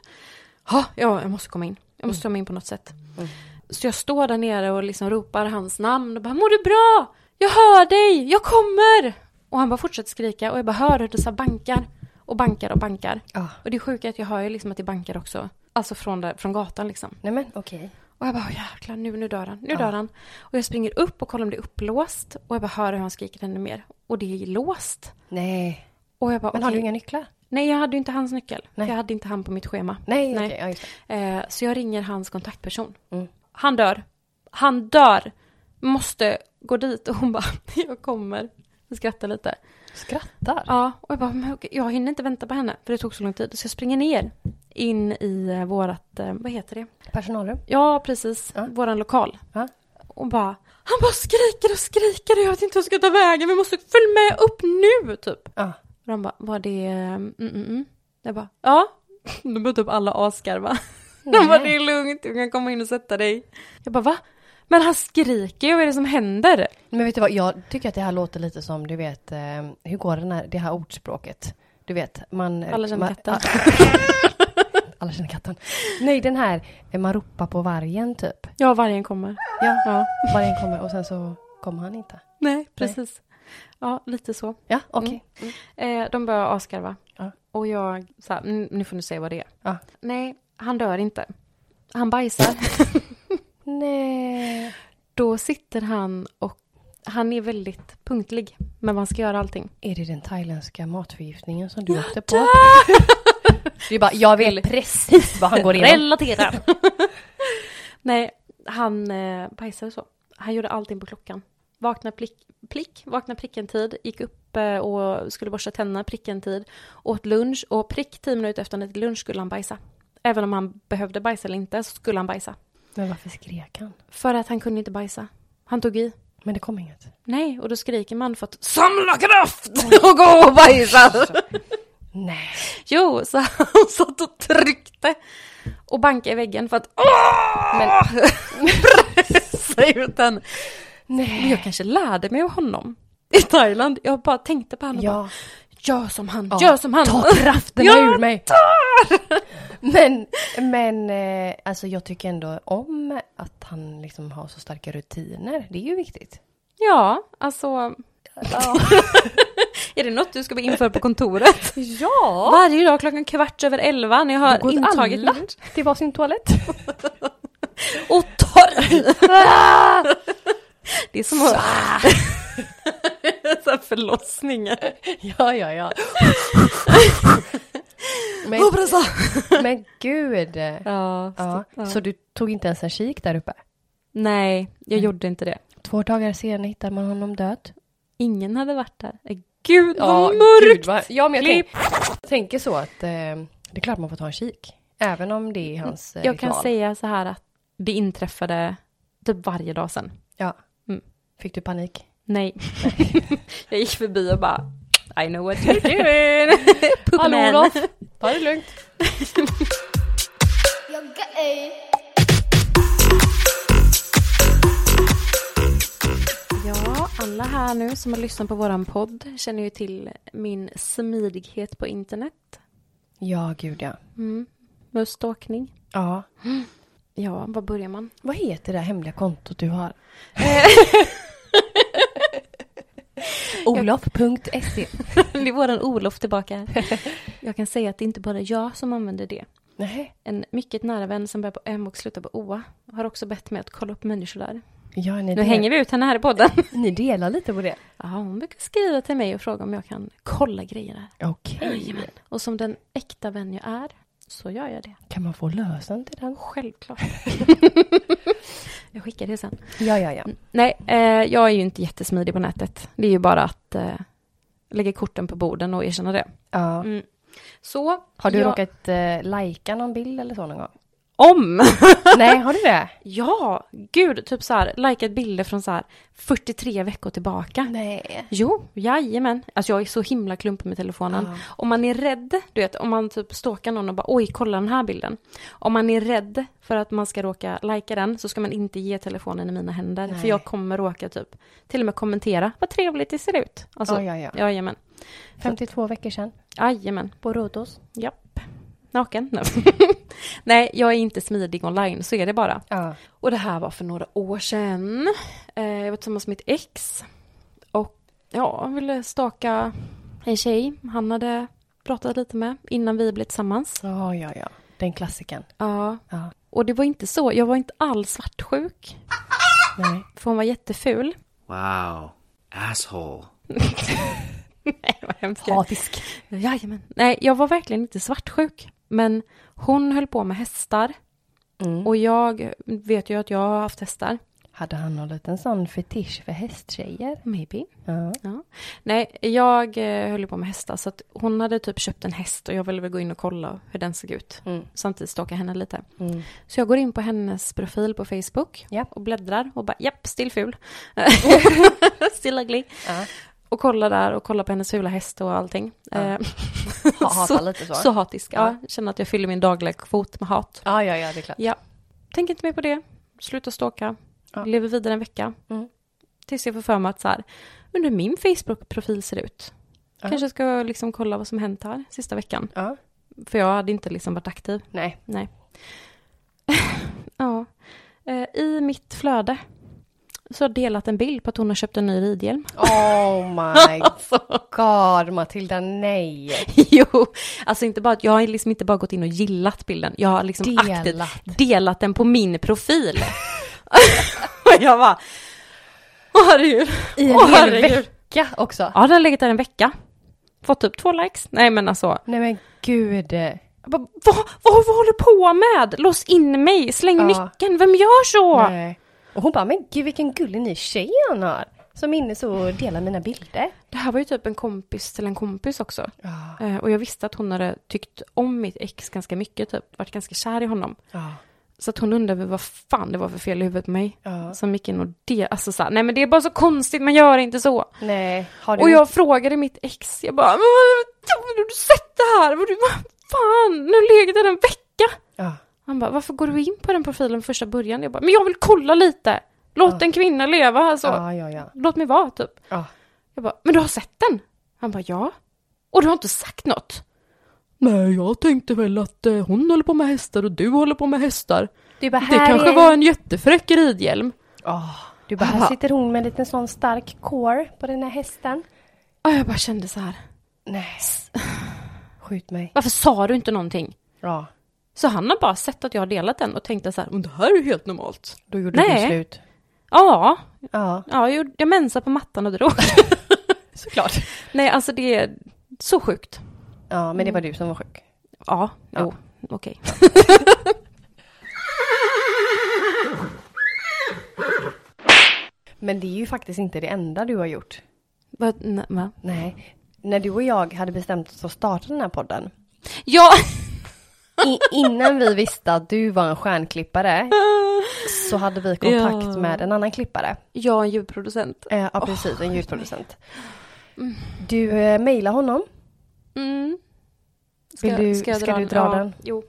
Speaker 2: Ha, ja, jag måste komma in. Jag måste komma in på något sätt.
Speaker 1: Mm.
Speaker 2: Så jag står där nere och liksom ropar hans namn och bara, mår du bra? Jag hör dig, jag kommer! Och han bara fortsätter skrika och jag bara hör hur det så här bankar och bankar och bankar.
Speaker 1: Ja.
Speaker 2: Och det sjuka är att jag hör ju liksom att det bankar också. Alltså från, där, från gatan liksom.
Speaker 1: Nej men okej.
Speaker 2: Och jag bara, "Åh, jäklar, nu, nu dör han, nu dör han. Och jag springer upp och kollar om det är upplåst. Och jag bara hör hur han skriker ännu mer. Och det är låst.
Speaker 1: Nej.
Speaker 2: Och jag bara,
Speaker 1: Men har
Speaker 2: "Okej."
Speaker 1: du inga nycklar?
Speaker 2: Nej, jag hade ju inte hans nyckel.
Speaker 1: Nej.
Speaker 2: Jag hade inte han på mitt schema.
Speaker 1: Nej, okej. Ja, just det.
Speaker 2: Eh, så jag ringer hans kontaktperson.
Speaker 1: Mm.
Speaker 2: Han dör. Han dör. Måste gå dit. Och hon bara, jag kommer. Jag skrattar lite.
Speaker 1: Skrattar?
Speaker 2: Ja, och jag bara, men okej, jag hinner inte vänta på henne. För det tog så lång tid. Så jag springer ner. In i eh, vårat, eh, vad heter det?
Speaker 1: Personalrum?
Speaker 2: Ja, precis.
Speaker 1: Ja.
Speaker 2: Våran lokal.
Speaker 1: Ja.
Speaker 2: Och bara, han bara skriker och skriker och jag vet inte hur jag ska ta vägen. Vi måste följa med upp nu, typ.
Speaker 1: Ja.
Speaker 2: Och de bara, var det... Mm, mm, mm. Jag bara, ja. De började typ alla asgarva. De bara, det är lugnt, du kan komma in och sätta dig. Jag bara, va? Men han skriker ju, vad är det som händer?
Speaker 1: Men vet du vad, jag tycker att det här låter lite som, du vet, eh, hur går den här, det här ordspråket? Du vet, man...
Speaker 2: Alla känner
Speaker 1: man,
Speaker 2: katten.
Speaker 1: Alla känner katten. Nej, den här, eh, man ropar på vargen typ.
Speaker 2: Ja, vargen kommer.
Speaker 1: Ja,
Speaker 2: Ja.
Speaker 1: vargen kommer och sen så kommer han inte.
Speaker 2: Nej, precis. Ja, lite så.
Speaker 1: Ja, okej.
Speaker 2: Eh, de börjar asgarva.
Speaker 1: Ja.
Speaker 2: Och jag så här, "Mm, nu får ni se vad det är.
Speaker 1: Ja.
Speaker 2: Nej, han dör inte. Han bajsar.
Speaker 1: Nej.
Speaker 2: Då sitter han och han är väldigt punktlig med vad han ska göra allting.
Speaker 1: Är det den thailändska matförgiftningen som du åkte på? Det är bara, jag vet precis vad han går igenom.
Speaker 2: Relaterar. Nej, han eh, bajsade så. Han gjorde allting på klockan. Vakna plick, plick vakna pricken tid, gick upp eh, och skulle borsta tänderna pricken tid, åt lunch och prick tio minuter efter han ätit lunch skulle han bajsa. Även om han behövde bajsa eller inte så skulle han bajsa.
Speaker 1: Men varför skrek han?
Speaker 2: För att han kunde inte bajsa. Han tog i.
Speaker 1: Men det kom inget.
Speaker 2: Nej, och då skriker man för att samla kraft och gå och bajsa.
Speaker 1: Nej.
Speaker 2: Jo, så han satt och tryckte och bankade i väggen för att åh! Men... pressa ut den. Men
Speaker 1: Nej.
Speaker 2: jag kanske lärde mig av honom i Thailand. Jag bara tänkte på honom och bara,
Speaker 1: Ja.
Speaker 2: gör som han,
Speaker 1: Ja,
Speaker 2: gör som han.
Speaker 1: Ta kraften
Speaker 2: Ja,
Speaker 1: ur mig! Men, men eh, alltså jag tycker ändå om att han liksom har så starka rutiner. Det är ju viktigt.
Speaker 2: Ja, alltså. är det något du ska införa på kontoret?
Speaker 1: Ja!
Speaker 2: Varje dag klockan kvart över elva när jag har intaget
Speaker 1: alla
Speaker 2: lunch.
Speaker 1: till varsin toalett.
Speaker 2: Och torr! det är som att... Så här förlossningar.
Speaker 1: ja, ja, ja. men, men gud!
Speaker 2: Ja,
Speaker 1: Ja, så du tog inte ens en kik där uppe?
Speaker 2: Nej, jag gjorde inte det.
Speaker 1: Två dagar senare hittar man honom död.
Speaker 2: Ingen hade varit där. Eh, Gud vad
Speaker 1: gud,
Speaker 2: mörkt!
Speaker 1: vad- ja, men jag
Speaker 2: Klipp.
Speaker 1: tänk, tänker så att eh, det är klart man får ta en kik. Även om det är hans eh,
Speaker 2: jag kan
Speaker 1: ritual.
Speaker 2: säga så här att det inträffade typ varje dag sen.
Speaker 1: Ja.
Speaker 2: Mm.
Speaker 1: Fick du panik?
Speaker 2: Nej. jag gick förbi och bara I know what you're doing! Puppen.
Speaker 1: ta det lugnt.
Speaker 3: You're gay.
Speaker 2: Ja, alla här nu som har lyssnat på våran podd känner ju till min smidighet på internet.
Speaker 1: Ja, gud ja.
Speaker 2: Mm. Med stalkning.
Speaker 1: Ja.
Speaker 2: Ja, var börjar man?
Speaker 1: Vad heter det där hemliga kontot du har? Olof.se
Speaker 2: Det är våran Olof tillbaka här. Jag kan säga att det inte bara är jag som använder det.
Speaker 1: Nej.
Speaker 2: En mycket nära vän som börjar på M och slutar på OA har också bett mig att kolla upp människor där.
Speaker 1: Ja, ni,
Speaker 2: Nu hänger vi ut henne här i podden.
Speaker 1: ni delar lite på det.
Speaker 2: Ja, hon brukar skriva till mig och fråga om jag kan kolla grejer där.
Speaker 1: Okej.
Speaker 2: Jajamän. Och som den äkta vän jag är, så gör jag det.
Speaker 1: Kan man få lösen till den?
Speaker 2: Oh, Självklart. jag skickar det sen.
Speaker 1: Ja, ja, ja.
Speaker 2: Nej, eh, jag är ju inte jättesmidig på nätet. Det är ju bara att eh, lägga korten på borden och erkänna det.
Speaker 1: ja.
Speaker 2: Mm. Så,
Speaker 1: Har du
Speaker 2: jag-
Speaker 1: råkat eh, lajka någon bild eller så någon gång?
Speaker 2: Om!
Speaker 1: Nej, har du det?
Speaker 2: ja, gud, typ så här, likat bilder från så här 43 veckor tillbaka.
Speaker 1: Nej.
Speaker 2: Jo, jajamän. Alltså jag är så himla klumpig med telefonen.
Speaker 1: Ja.
Speaker 2: Om man är rädd, du vet, om man typ stalkar någon och bara oj, kolla den här bilden. Om man är rädd för att man ska råka lajka den så ska man inte ge telefonen i mina händer.
Speaker 1: Nej.
Speaker 2: För jag kommer råka typ, till och med kommentera, vad trevligt det ser ut. Alltså,
Speaker 1: ja, ja, ja.
Speaker 2: jajamän.
Speaker 1: 52 veckor sedan.
Speaker 2: Jajamän.
Speaker 1: På Rhodos.
Speaker 2: Japp. naken. Nej. Nej, jag är inte smidig online, så är det bara.
Speaker 1: Ja.
Speaker 2: Och det här var för några år sedan. Eh, jag var tillsammans med mitt ex. Och ja, han ville staka en tjej han hade pratat lite med innan vi blev tillsammans.
Speaker 1: Ja, ja, ja. Den klassiken.
Speaker 2: Ja.
Speaker 1: Ja.
Speaker 2: Och det var inte så, jag var inte alls svartsjuk.
Speaker 1: Nej.
Speaker 2: För hon var jätteful.
Speaker 4: Wow. Asshole.
Speaker 2: Nej, vad hemskt.
Speaker 1: Hatisk.
Speaker 2: Jajamän. Nej, jag var verkligen inte svartsjuk. Men hon höll på med hästar.
Speaker 1: Mm.
Speaker 2: Och jag vet ju att jag har haft hästar.
Speaker 1: Hade han någon liten sån fetisch för hästtjejer?
Speaker 2: Maybe.
Speaker 1: Ja.
Speaker 2: Ja. Nej, jag eh, höll ju på med hästar så att hon hade typ köpt en häst och jag ville väl gå in och kolla hur den såg ut.
Speaker 1: Mm.
Speaker 2: Samtidigt stalka henne lite.
Speaker 1: Mm.
Speaker 2: Så jag går in på hennes profil på Facebook
Speaker 1: Ja.
Speaker 2: och bläddrar och bara japp, still ful. still ugly.
Speaker 1: Ja.
Speaker 2: Och kollar där och kollar på hennes fula häst och allting.
Speaker 1: Ja.
Speaker 2: Eh,
Speaker 1: Ha- Hatar
Speaker 2: så,
Speaker 1: lite så.
Speaker 2: så hatisk, ja.
Speaker 1: Ja.
Speaker 2: Känner att jag fyller min dagliga kvot med hat.
Speaker 1: Ja, ja, ja, det är klart.
Speaker 2: Ja. Tänk inte mer på det. Sluta stalka.
Speaker 1: Ja.
Speaker 2: Lever vidare en vecka.
Speaker 1: Mm.
Speaker 2: Tills jag får för mig att så här, men hur min Facebook-profil ser ut.
Speaker 1: Ja.
Speaker 2: Kanske ska jag liksom kolla vad som hänt här sista veckan.
Speaker 1: Ja.
Speaker 2: För jag hade inte liksom varit aktiv.
Speaker 1: Nej.
Speaker 2: Nej. ja. Eh, I mitt flöde så har jag delat en bild på att hon har köpt en ny ridhjälm.
Speaker 1: Oh my god, Matilda, nej.
Speaker 2: jo, alltså inte bara att jag har liksom inte bara gått in och gillat bilden. Jag har liksom aktivt
Speaker 1: Delat.
Speaker 2: delat den på min profil. och jag bara, åh herregud.
Speaker 1: I en
Speaker 2: Åh,
Speaker 1: hel
Speaker 2: herregud.
Speaker 1: vecka också.
Speaker 2: Ja, den har legat där en vecka. Fått upp två likes. Nej men alltså,
Speaker 1: Nej men gud.
Speaker 2: jag bara, vad, vad håller du på med? Lås in mig, släng
Speaker 1: Ja.
Speaker 2: nyckeln, vem gör så?
Speaker 1: Nej. Och hon bara, men gud vilken gullig ny tjej han har. Som är inne så och delar mina bilder.
Speaker 2: Det här var ju typ en kompis till en kompis också.
Speaker 1: Ja.
Speaker 2: Eh, Och jag visste att hon hade tyckt om mitt ex ganska mycket, typ varit ganska kär i honom.
Speaker 1: Ja.
Speaker 2: Så att hon undrade väl vad fan det var för fel i huvudet på mig.
Speaker 1: Ja.
Speaker 2: Som gick in och det, alltså så här, nej men det är bara så konstigt, man gör inte så.
Speaker 1: Nej, har du...
Speaker 2: Och jag frågade mitt ex, jag bara, "Men vad- har du sett det här? Vad du- vad Fan, nu ligger den en vecka.
Speaker 1: Ja.
Speaker 2: Han bara, varför går du in på den profilen första början? Jag bara, men jag vill kolla lite. Låt en kvinna leva, alltså.
Speaker 1: ja, ja, ja.
Speaker 2: Låt mig vara, typ.
Speaker 1: Ja.
Speaker 2: Jag bara, men du har sett den? Han bara, ja. Och du har inte sagt något? Nej, jag tänkte väl att eh, hon håller på med hästar och du håller på med hästar.
Speaker 1: Du bara,
Speaker 2: Det
Speaker 1: här
Speaker 2: kanske
Speaker 1: är...
Speaker 2: var en jättefräck ridhjälm.
Speaker 1: Åh, Du bara, här
Speaker 2: Aha.
Speaker 1: sitter hon med en liten sån stark core på den här hästen.
Speaker 2: Och jag bara kände så här,
Speaker 1: Nej. Skjut mig.
Speaker 2: varför sa du inte någonting?
Speaker 1: Ja,
Speaker 2: Så han har bara sett att jag har delat den och tänkte så här, men det här är ju helt normalt.
Speaker 1: då gjorde
Speaker 2: Nej.
Speaker 1: du slut.
Speaker 2: Ja,
Speaker 1: Ja,
Speaker 2: ja jag, gjorde- jag mensade på mattan och drog.
Speaker 1: såklart.
Speaker 2: Nej, alltså det är så sjukt.
Speaker 1: Ja, men det var du som var sjuk.
Speaker 2: Ja, jo, okej.
Speaker 1: Men det är ju faktiskt inte det enda du har gjort.
Speaker 2: Vad- nej, va?
Speaker 1: Nej. När du och jag hade bestämt oss att starta den här podden.
Speaker 2: Ja,
Speaker 1: I, innan vi visste att du var en stjärnklippare. Så hade vi kontakt
Speaker 2: Ja.
Speaker 1: med en annan klippare.
Speaker 2: jag är en ljudproducent.
Speaker 1: Eh, ja, precis. en ljudproducent. Du eh, mejlar honom.
Speaker 2: Mm.
Speaker 1: Vill du- ska du dra Mm. den?
Speaker 2: Jo.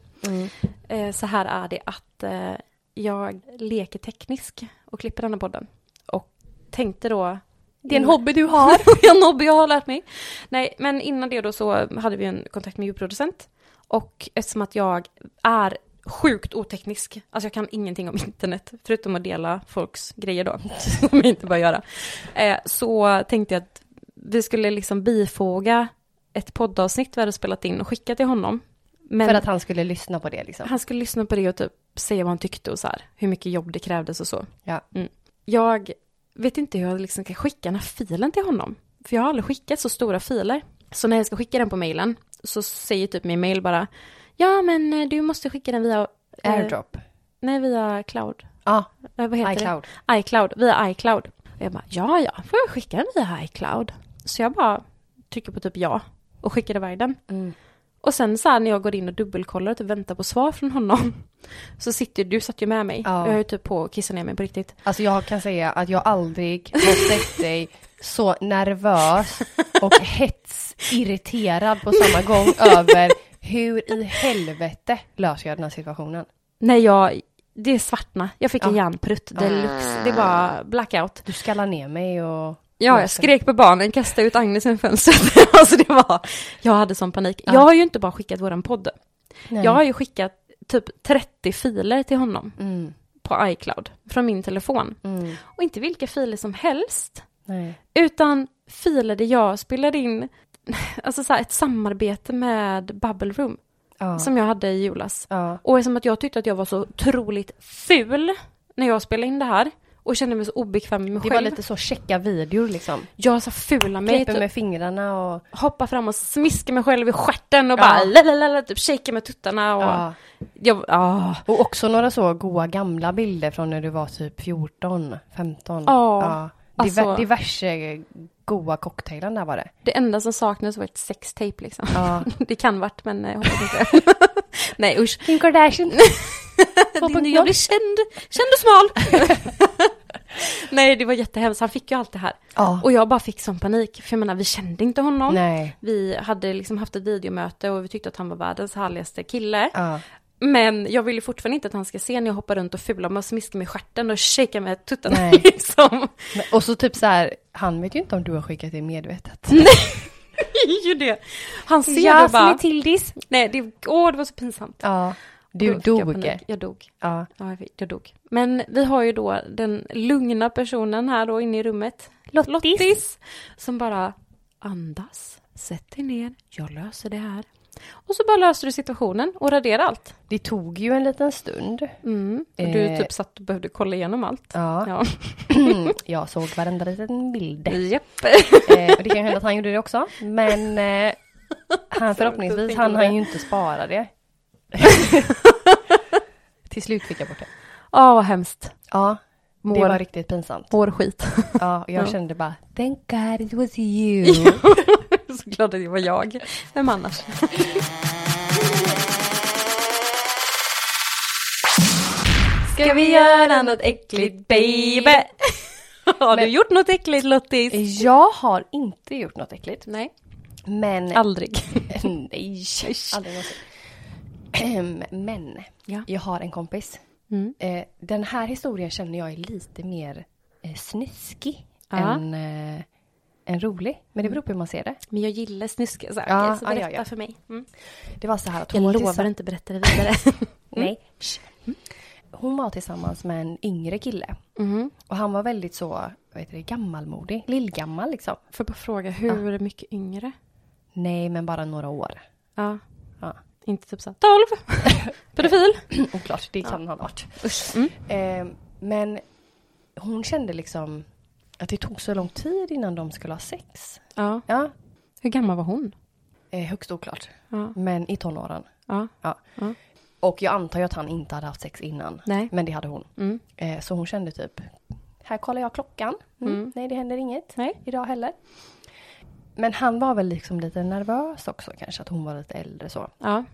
Speaker 2: Eh, så här är det att eh, jag leker teknisk och klipper den här podden. Och tänkte då...
Speaker 1: Det är en hobby du har.
Speaker 2: Det är en hobby jag har lärt mig. Nej, men innan det då så hade vi en kontakt med ljudproducent. Och eftersom att jag är sjukt oteknisk, alltså jag kan ingenting om internet, förutom att dela folks grejer då, som jag inte bör göra, eh, så tänkte jag att vi skulle liksom bifoga ett poddavsnitt vi hade spelat in och skicka till honom. Men
Speaker 1: För att han skulle lyssna på det liksom.
Speaker 2: han skulle lyssna på det och typ säga vad han tyckte och så här, hur mycket jobb det krävdes och så.
Speaker 1: Ja.
Speaker 2: Mm. Jag vet inte hur jag liksom ska skicka den här filen till honom. För jag har aldrig skickat så stora filer. Så när jag ska skicka den på mailen så säger typ min mail bara Ja men eh, du måste skicka den via eh,
Speaker 1: Airdrop.
Speaker 2: Nej via cloud.
Speaker 1: Ja,
Speaker 2: Eh, vad heter
Speaker 1: iCloud.
Speaker 2: det? iCloud. Via iCloud. Och jag bara ja ja, får jag skicka den via iCloud? Så jag bara trycker på typ ja och skickar iväg den.
Speaker 1: Mm.
Speaker 2: Och sen så här när jag går in och dubbelkollar och typ väntar på svar från honom. Så sitter du, satt ju med mig.
Speaker 1: Ja.
Speaker 2: Jag är ju typ på att kissa ner mig på riktigt.
Speaker 1: Alltså jag kan säga att jag aldrig har sett dig så nervös och hetsirriterad på samma gång över hur i helvete löser jag den här situationen.
Speaker 2: Nej jag, det är svartna. Jag fick en
Speaker 1: Ja. Ah.
Speaker 2: hjärnprutt deluxe. Det var blackout.
Speaker 1: Du skallar ner mig och...
Speaker 2: Ja, jag skrek på barnen, kastade ut Agnes genom fönstret. alltså det var, jag hade sån panik. Jag har ju inte bara skickat våran podd.
Speaker 1: Nej.
Speaker 2: Jag har ju skickat typ 30 filer till honom
Speaker 1: Mm.
Speaker 2: på iCloud från min telefon.
Speaker 1: Mm.
Speaker 2: Och inte vilka filer som helst,
Speaker 1: Nej.
Speaker 2: utan filer där jag spelade in alltså så här, ett samarbete med Bubble Room
Speaker 1: Ja.
Speaker 2: som jag hade i julas.
Speaker 1: ja.
Speaker 2: Och eftersom att jag tyckte att jag var så otroligt ful när jag spelade in det här och kände mig så obekväm med mig
Speaker 1: Det var
Speaker 2: själv.
Speaker 1: lite så checka videor liksom.
Speaker 2: Jag så fula mig,
Speaker 1: Knäpper
Speaker 2: typ,
Speaker 1: med fingrarna och...
Speaker 2: hoppa fram och smiska mig själv i stjärten och
Speaker 1: Ja.
Speaker 2: bara lalalala, typ shakea med tuttarna och...
Speaker 1: Ja.
Speaker 2: Jag, ah.
Speaker 1: Och också några så goa gamla bilder från när du var typ 14, 15.
Speaker 2: Ja,
Speaker 1: Diver,
Speaker 2: alltså-
Speaker 1: Diverse goa cocktailar där var det.
Speaker 2: Det enda som saknades var ett sextape liksom.
Speaker 1: Ja.
Speaker 2: Det kan varit men eh, jag hoppas inte. Nej usch.
Speaker 1: Kim Kardashian.
Speaker 2: Din, jag blir känd, känd och smal. Nej det var jättehemskt, han fick ju allt det här.
Speaker 1: Ja.
Speaker 2: Och jag bara fick sån panik, för jag menar vi kände inte honom.
Speaker 1: Nej.
Speaker 2: Vi hade liksom haft ett videomöte och vi tyckte att han var världens härligaste kille.
Speaker 1: Ja.
Speaker 2: Men jag vill ju fortfarande inte att han ska se när jag hoppar runt och fular mig och smiskar mig i stjärten och shakar med tuttarna
Speaker 1: Nej.
Speaker 2: liksom.
Speaker 1: Men, och så typ så här, han vet ju inte om du har skickat det medvetet.
Speaker 2: Mm. Det är ju det. Han ser det bara.
Speaker 1: Tildis.
Speaker 2: Nej, det, åh, det var så pinsamt.
Speaker 1: Ja. Du
Speaker 2: Då fick Jag,
Speaker 1: dog.
Speaker 2: panik. jag dog.
Speaker 1: Ja.
Speaker 2: Ja, jag, fick- jag dog. Men vi har ju då den lugna personen här då inne i rummet.
Speaker 1: Lottis.
Speaker 2: Som bara andas, sätt dig ner, jag löser det här. Och så bara löser du situationen och raderar allt.
Speaker 1: Det tog ju en liten stund.
Speaker 2: Mm. Och du
Speaker 1: Eh.
Speaker 2: typ satt och behövde kolla igenom allt.
Speaker 1: Ja.
Speaker 2: Ja. Mm.
Speaker 1: Jag såg varenda liten bild.
Speaker 2: Japp.
Speaker 1: Eh, och det kan ju hända att han gjorde det också. Men eh, han förhoppningsvis,
Speaker 2: tänker
Speaker 1: han
Speaker 2: på
Speaker 1: har
Speaker 2: det.
Speaker 1: ju inte spara det. Till slut fick jag bort det.
Speaker 2: Ja, vad hemskt.
Speaker 1: Ja, det
Speaker 2: Mår,
Speaker 1: var riktigt pinsamt.
Speaker 2: mår skit.
Speaker 1: Ja, och jag
Speaker 2: Ja.
Speaker 1: kände bara, thank God it was you.
Speaker 2: Jag är så glad att det var jag. Vem annars? Ska vi göra något äckligt baby? Har du
Speaker 1: Men-
Speaker 2: gjort något äckligt Lottis?
Speaker 1: Jag har inte gjort något äckligt.
Speaker 2: Nej,
Speaker 1: Men...
Speaker 2: aldrig.
Speaker 1: Nej, aldrig någonsin. Ehm, Men,
Speaker 2: Ja.
Speaker 1: jag har en kompis.
Speaker 2: Mm.
Speaker 1: Eh, Den här historien känner jag är lite mer eh, snuskig
Speaker 2: Ja.
Speaker 1: än, eh, än rolig. Men det beror på hur man ser det.
Speaker 2: Men jag gillar snuskiga saker,
Speaker 1: Ja,
Speaker 2: så
Speaker 1: ja,
Speaker 2: berätta
Speaker 1: ja, ja.
Speaker 2: för mig. Mm.
Speaker 1: Det var så här att
Speaker 2: Jag
Speaker 1: hon var
Speaker 2: lovar Mm.
Speaker 1: tillsammans-
Speaker 2: inte berätta det vidare.
Speaker 1: Nej. Shh. Hon var tillsammans med en yngre kille.
Speaker 2: Mhm.
Speaker 1: Och han var väldigt så, vad heter det, gammalmodig. Lillgammal liksom.
Speaker 2: Får jag bara fråga, hur mycket yngre?
Speaker 1: Nej, men bara några år.
Speaker 2: Ja,
Speaker 1: Ja.
Speaker 2: inte typ så här, 12? Pedofil?
Speaker 1: Oklart, det kan han ha varit.
Speaker 2: Usch. Mm.
Speaker 1: Eh, men hon kände liksom att det tog så lång tid innan de skulle ha sex.
Speaker 2: Ja.
Speaker 1: Ja,
Speaker 2: Hur gammal var hon?
Speaker 1: eh, högst oklart.
Speaker 2: Ja.
Speaker 1: Men i tonåren.
Speaker 2: ja.
Speaker 1: Ja.
Speaker 2: Ja.
Speaker 1: Och jag antar ju att han inte hade haft sex innan.
Speaker 2: Mm. Nej.
Speaker 1: Men det hade hon.
Speaker 2: Mm.
Speaker 1: Eh, så hon kände typ, här kollar jag klockan. Mm. Nej, det händer inget
Speaker 2: Nej.
Speaker 1: idag heller. Men han var väl liksom lite nervös också kanske, att hon var lite äldre så.
Speaker 2: Ja.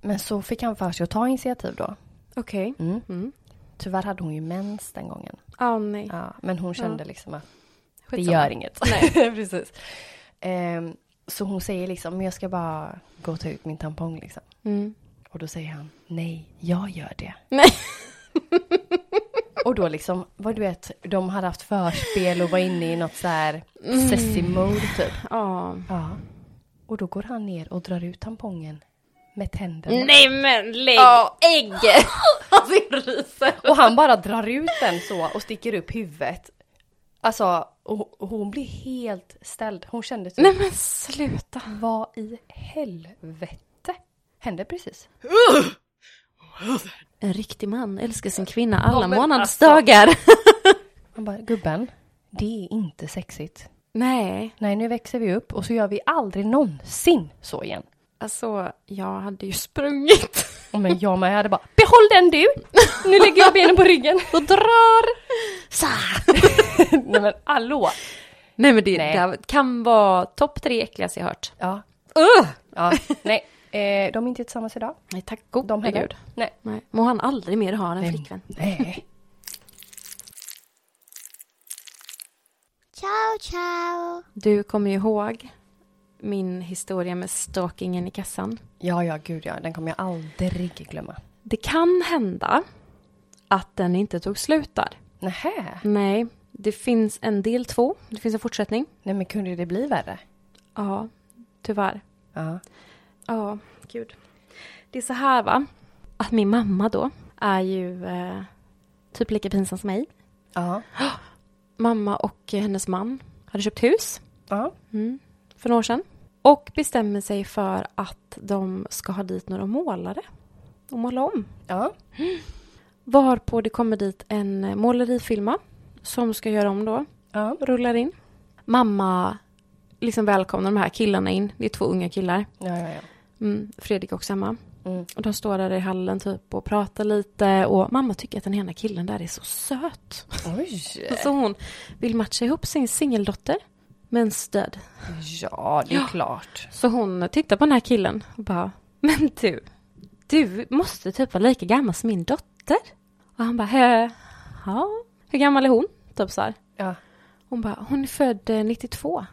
Speaker 1: Men så fick han för sig att ta initiativ då.
Speaker 2: Okej.
Speaker 1: Mm.
Speaker 2: Mm.
Speaker 1: Tyvärr hade hon ju mens den gången.
Speaker 2: Ah, nej.
Speaker 1: Ja, men hon kände liksom att det
Speaker 2: Skitsamma.
Speaker 1: gör inget. Nej, precis. Ehm, så hon säger liksom, men jag ska bara gå och ta ut min tampong liksom.
Speaker 2: Mm.
Speaker 1: Och då säger han, nej, jag gör det.
Speaker 2: Nej.
Speaker 1: Och då liksom, vad du vet, de hade haft förspel och var inne i något så här sessy mode typ.
Speaker 2: Mm. Ja.
Speaker 1: Ja. Och då går han ner och drar ut tampongen med tänderna.
Speaker 2: Nej men lägg ägg! alltså jag ryser.
Speaker 1: Och han bara drar ut den så och sticker upp huvudet. Alltså, och, och hon blir helt ställd. Hon kände typ,
Speaker 2: Nej men sluta.
Speaker 1: vad i helvete hände precis?
Speaker 2: En riktig man älskar sin kvinna alla
Speaker 1: Ja, men
Speaker 2: månadsdagar.
Speaker 1: Han bara, gubben, det är inte sexigt.
Speaker 2: nej,
Speaker 1: Nej, nu växer vi upp och så gör vi aldrig någonsin så igen.
Speaker 2: alltså jag hade ju sprungit.
Speaker 1: Och Men jag med, jag hade bara, behåll den du! Nu lägger jag benen på ryggen och drar!
Speaker 2: Så.
Speaker 1: Nej men hallå!
Speaker 2: Nej men det,
Speaker 1: Nej.
Speaker 2: det här kan vara topp tre äckligaste jag hört.
Speaker 1: Ja,
Speaker 2: Uh!
Speaker 1: ja, nej. Eh, de är inte tillsammans idag.
Speaker 2: Nej tack gode
Speaker 1: De heller.
Speaker 2: gud.
Speaker 1: Nej.
Speaker 2: Nej. Må han aldrig mer ha en
Speaker 1: Nej.
Speaker 2: flickvän.
Speaker 1: Nej.
Speaker 3: Ciao, ciao.
Speaker 2: Du kommer ju ihåg min historia med stalkingen i kassan.
Speaker 1: Ja, ja, gud ja, den kommer jag aldrig glömma.
Speaker 2: Det kan hända att den inte tog slut där.
Speaker 1: Nähä?
Speaker 2: Nej, det finns en del två. Det finns en fortsättning.
Speaker 1: Nej men kunde det bli värre?
Speaker 2: Ja, tyvärr.
Speaker 1: Ja.
Speaker 2: Ja, gud. Det är så här va, att min mamma då är ju eh, typ lika pinsam som mig.
Speaker 1: Ja.
Speaker 2: Mamma och eh, hennes man hade köpt hus
Speaker 1: Ja.
Speaker 2: för några år sedan. Och bestämmer sig för att de ska ha dit några målare och måla om.
Speaker 1: Ja.
Speaker 2: Varpå det kommer dit en målerifirma som ska göra om då.
Speaker 1: Ja.
Speaker 2: Rullar in. Mamma liksom välkomnar de här killarna in. Det är två unga killar.
Speaker 1: Ja, ja, ja.
Speaker 2: Mm, Fredrik också hemma.
Speaker 1: Mm.
Speaker 2: Och de står där i hallen typ och pratar lite. Och mamma tycker att den ena killen där är så söt.
Speaker 1: Oj.
Speaker 2: Så hon vill matcha ihop sin singeldotter med en stöd.
Speaker 1: Ja, det är klart.
Speaker 2: Så hon tittar på den här killen och bara, men du, du måste typ vara lika gammal som min dotter. Och han bara, "Hä? ja, hur gammal är hon? Typ så här.
Speaker 1: Ja.
Speaker 2: Hon bara, hon är född eh, 92.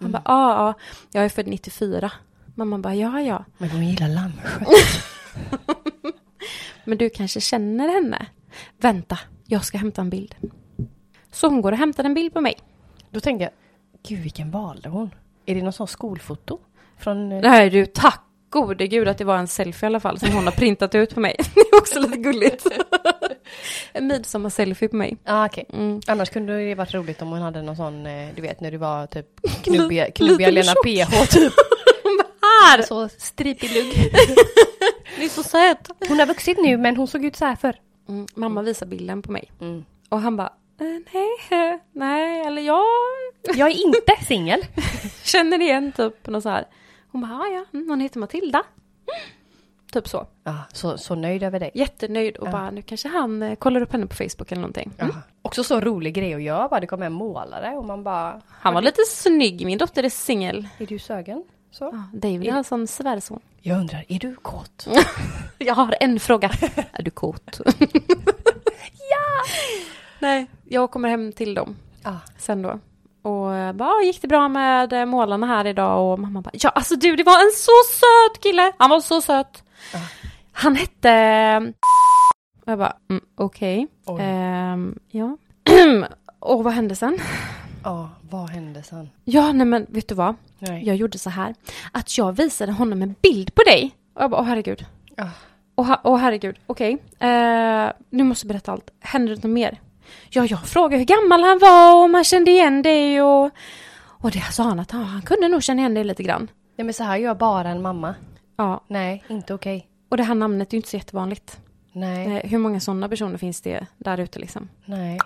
Speaker 2: Han bara, ja, ja, jag är född 94. Mamma bara, ja, ja,
Speaker 1: Men hon gillar lammkött.
Speaker 2: men du kanske känner henne? Vänta, jag ska hämta en bild. Så hon går och hämtar en bild på mig.
Speaker 1: Då tänker jag, gud vilken valde hon? Är det någon sån skolfoto? Från... eh,
Speaker 2: Nej du, tack gode gud att det var en selfie i alla fall som hon har printat ut på mig. Det är också lite gulligt. en midsommar-selfie på mig.
Speaker 1: Ja, okej.
Speaker 2: Mm.
Speaker 1: Annars kunde det ju varit roligt om hon hade någon sån, eh, du vet när du var typ knubbiga, knubbiga
Speaker 2: liten
Speaker 1: Lena
Speaker 2: tjock.
Speaker 1: PH typ.
Speaker 2: Här!
Speaker 1: Så stripig lugg.
Speaker 2: Du är så söt!
Speaker 1: Hon har vuxit nu men hon såg ut så här förr.
Speaker 2: Mm, mamma visar bilden på mig.
Speaker 1: Mm.
Speaker 2: Och han bara, eh, nej, nej, eller jag
Speaker 1: Jag är inte singel.
Speaker 2: känner igen typ något så här. Hon bara, "Ja, ja, mm, hon heter Matilda. Mm. Typ så.
Speaker 1: Ja, så, så nöjd över dig.
Speaker 2: Jättenöjd och bara, nu kanske han eh, kollar upp henne på Facebook eller någonting. Mm.
Speaker 1: Jaha. Också så rolig grej att göra bara, det kom en målare och man bara,
Speaker 2: Han var lite snygg, min dotter är singel.
Speaker 1: är du sögen? Så.
Speaker 2: Ja, David är alltså en svärson.
Speaker 1: Jag undrar, är du kåt?
Speaker 2: Jag har en fråga. Är du kåt? ja! Nej, jag kommer hem till dem
Speaker 1: Ja.
Speaker 2: sen då. Och eh, bara, "Ah, gick det bra med eh, målarna här idag? Och mamma bara, ja alltså du det var en så söt kille! Han var så söt! Han hette... Och jag bara, mm, okej.
Speaker 1: Oj.
Speaker 2: Ehm, ja. och vad hände sen?
Speaker 1: Ja, vad hände sen?
Speaker 2: Ja, nej men vet du vad?
Speaker 1: Nej.
Speaker 2: Jag gjorde så här, att jag visade honom en bild på dig. Och jag bara, åh herregud.
Speaker 1: Ja.
Speaker 2: Åh ha- åh, herregud, okej. Eh, nu måste jag berätta allt. Händer det något mer? Ja, jag frågade hur gammal han var och om han kände igen dig och... Och det sa han att han, han kunde nog känna igen dig lite grann.
Speaker 1: Nej men så här gör bara en mamma.
Speaker 2: Ja,
Speaker 1: Nej, inte okej.
Speaker 2: och det här namnet är ju inte så jättevanligt.
Speaker 1: Nej,
Speaker 2: Eh, hur många sådana personer finns det där ute liksom?
Speaker 1: nej.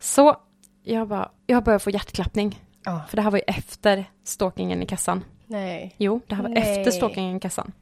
Speaker 2: Så jag bara, jag började få hjärtklappning.
Speaker 1: Ja.
Speaker 2: För det här var ju efter stalkingen i kassan.
Speaker 1: Nej.
Speaker 2: Jo, det här var
Speaker 1: Nej.
Speaker 2: efter stalkingen i kassan.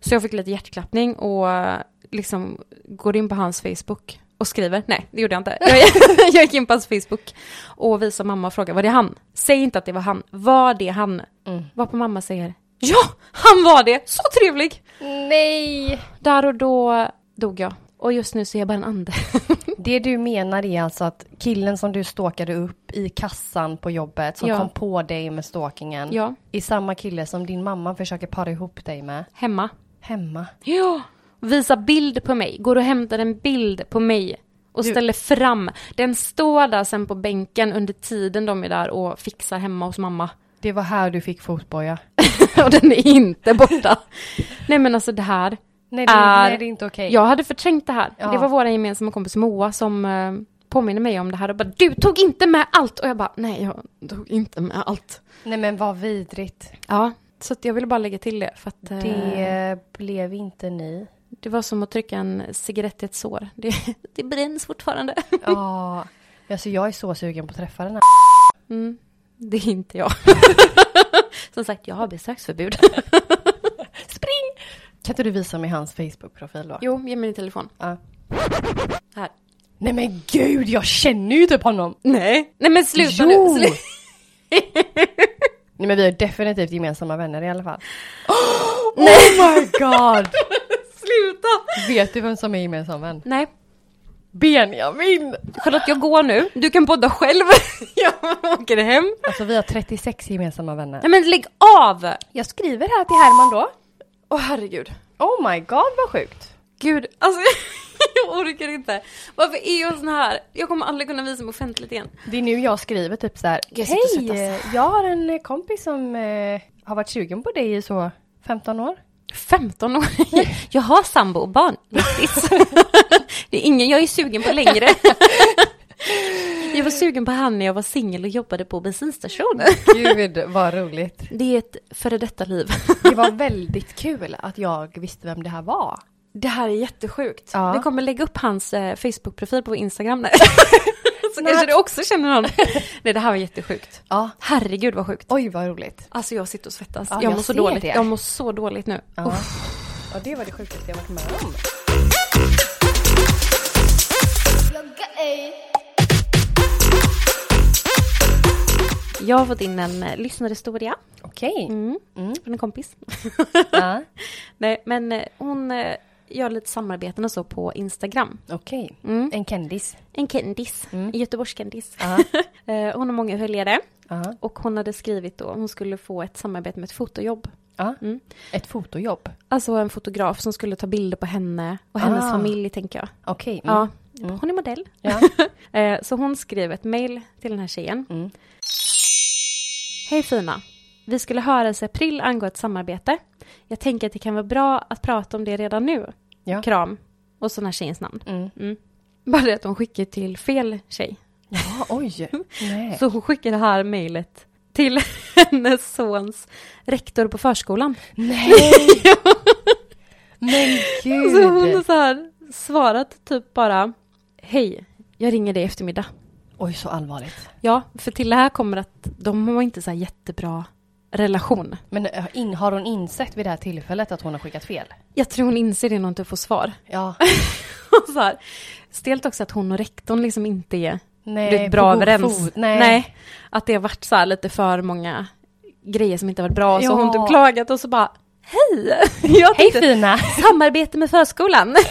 Speaker 2: Så jag fick lite hjärtklappning och eh, liksom går in på hans Facebook och skriver. Nej, det gjorde jag inte. Jag, jag gick in på hans Facebook och visar mamma och frågar, var det han? Säg inte att det var han. Var det han?
Speaker 1: Mm.
Speaker 2: Varpå mamma säger, ja, han var det! Så trevlig!
Speaker 1: Nej!
Speaker 2: Där och då dog jag. Och just nu så är jag bara en ande.
Speaker 1: Det du menar är alltså att killen som du stalkade upp i kassan på jobbet som
Speaker 2: Ja.
Speaker 1: kom på dig med stalkingen
Speaker 2: Ja.
Speaker 1: är samma kille som din mamma försöker para ihop dig med
Speaker 2: Hemma.
Speaker 1: hemma.
Speaker 2: Ja. Visar bild på mig, går och hämtar en bild på mig och ställer fram. Den står där sen på bänken under tiden de är där och fixar hemma hos mamma.
Speaker 1: Det var här du fick fotboja.
Speaker 2: och den är inte borta. Nej men alltså det här.
Speaker 1: Nej, det,
Speaker 2: är-
Speaker 1: nej, det är inte okej.
Speaker 2: Jag hade förträngt det här.
Speaker 1: Ja.
Speaker 2: Det var vår gemensamma kompis Moa som eh, påminner mig om det här och bara du tog inte med allt och jag bara nej jag tog inte med allt.
Speaker 1: Nej men vad vidrigt.
Speaker 2: Ja, så att jag ville bara lägga till det för att eh, det...
Speaker 1: Det blev inte ni.
Speaker 2: var som att trycka en cigarett i ett sår. Det, det bränns fortfarande.
Speaker 1: Ja. Alltså jag är så sugen på att träffa den här.
Speaker 2: Mm, det är inte jag. Som sagt, jag har besöksförbud.
Speaker 1: Spring! Kan inte du visa mig hans Facebook-profil då?
Speaker 2: Jo, ge mig din telefon.
Speaker 1: Ja.
Speaker 2: Här.
Speaker 1: Nej men gud, jag känner ju typ honom!
Speaker 2: Nej. Nej men sluta
Speaker 1: Jo!
Speaker 2: nu. Slu-
Speaker 1: Nej men vi är definitivt gemensamma vänner i alla fall. Oh my god!
Speaker 2: sluta.
Speaker 1: Vet du vem som är gemensam vän?
Speaker 2: Nej.
Speaker 1: Benjamin!
Speaker 2: Charlotte, jag går nu. Du kan podda själv. jag åker hem.
Speaker 1: Alltså vi har 36 gemensamma vänner.
Speaker 2: Nej men lägg av!
Speaker 1: Jag skriver här till Herman då.
Speaker 2: Åh herregud.
Speaker 1: Oh my god vad sjukt!
Speaker 2: Gud, alltså jag orkar inte. Varför är jag sån här? Jag kommer aldrig kunna visa mig offentligt igen.
Speaker 1: Det är nu jag skriver typ så här.
Speaker 2: Jag sitter och
Speaker 1: Hej!
Speaker 2: svettas.
Speaker 1: eh, Jag har en eh, kompis som eh, har varit sugen på dig i så 15 år.
Speaker 2: 15 år? Jag har sambo och barn, grattis. Det är ingen jag är sugen på längre. Jag var sugen på han när jag var singel och jobbade på bensinstation.
Speaker 1: Gud vad roligt.
Speaker 2: Det är ett före detta liv.
Speaker 1: Det var väldigt kul att jag visste vem det här var.
Speaker 2: Det här är jättesjukt.
Speaker 1: Ja.
Speaker 2: Vi kommer lägga upp hans eh, Facebook-profil på Instagram. Nej. Så
Speaker 1: Nej.
Speaker 2: kanske du också känner någon. Nej, det här var jättesjukt.
Speaker 1: Ja.
Speaker 2: Herregud vad sjukt.
Speaker 1: Oj vad roligt.
Speaker 2: Alltså jag sitter och svettas.
Speaker 1: Ja,
Speaker 2: jag,
Speaker 1: jag
Speaker 2: mår så
Speaker 1: ser
Speaker 2: dåligt.
Speaker 1: det.
Speaker 2: Jag mår så dåligt nu.
Speaker 1: Ja.
Speaker 2: Uff.
Speaker 1: ja det var det sjukaste jag varit med om.
Speaker 3: you're gay.
Speaker 2: Jag har fått in en eh, lyssnarhistoria
Speaker 1: Okej.
Speaker 2: mm.
Speaker 1: Mm.
Speaker 2: från en kompis.
Speaker 1: Ja.
Speaker 2: Nej, men eh, hon eh, gör lite samarbeten och så på Instagram.
Speaker 1: Okej.
Speaker 2: Mm.
Speaker 1: En kändis.
Speaker 2: En kändis, en Göteborgskändis.
Speaker 1: Mm. Ja.
Speaker 2: Eh, hon har många följare
Speaker 1: Ja.
Speaker 2: och hon hade skrivit då, hon skulle få ett samarbete med ett fotojobb.
Speaker 1: Ja.
Speaker 2: Mm.
Speaker 1: Ett fotojobb.
Speaker 2: Alltså en fotograf som skulle ta bilder på henne och hennes
Speaker 1: Ah.
Speaker 2: familj tänker jag.
Speaker 1: Okej.
Speaker 2: Ja, hon är modell.
Speaker 1: Mm. Ja.
Speaker 2: Eh, Så hon skrev ett mejl till den här tjejen.
Speaker 1: Mm.
Speaker 2: Hej fina! Vi skulle höras i april angå ett samarbete. Jag tänker att det kan vara bra att prata om det redan nu.
Speaker 1: Ja.
Speaker 2: Kram! Och så den här tjejens namn.
Speaker 1: Mm.
Speaker 2: Bara det att hon skickar till fel tjej.
Speaker 1: ja. Oj. Nej.
Speaker 2: Så hon skickar det här mejlet till hennes sons rektor på förskolan.
Speaker 1: Nej. Men gud.
Speaker 2: Så hon har så här svarat typ bara Hej, jag ringer dig i eftermiddag.
Speaker 1: Oj så allvarligt.
Speaker 2: Ja, för till det här kommer att de har inte så här jättebra relation.
Speaker 1: Men eh, in, har hon insett vid det här tillfället att hon har skickat fel?
Speaker 2: Jag tror hon inser det när hon inte får svar.
Speaker 1: Ja.
Speaker 2: Och så här, stelt också att hon och rektorn liksom inte är
Speaker 1: Nej,
Speaker 2: du vet, bra
Speaker 1: på god
Speaker 2: överens.
Speaker 1: fot. Nej.
Speaker 2: Att det har varit så här lite för många grejer som inte har varit bra. Så
Speaker 1: Ja.
Speaker 2: hon har typ klagat och så bara Hej! Jag
Speaker 1: Hej
Speaker 2: tänkte
Speaker 1: fina!
Speaker 2: samarbete med förskolan.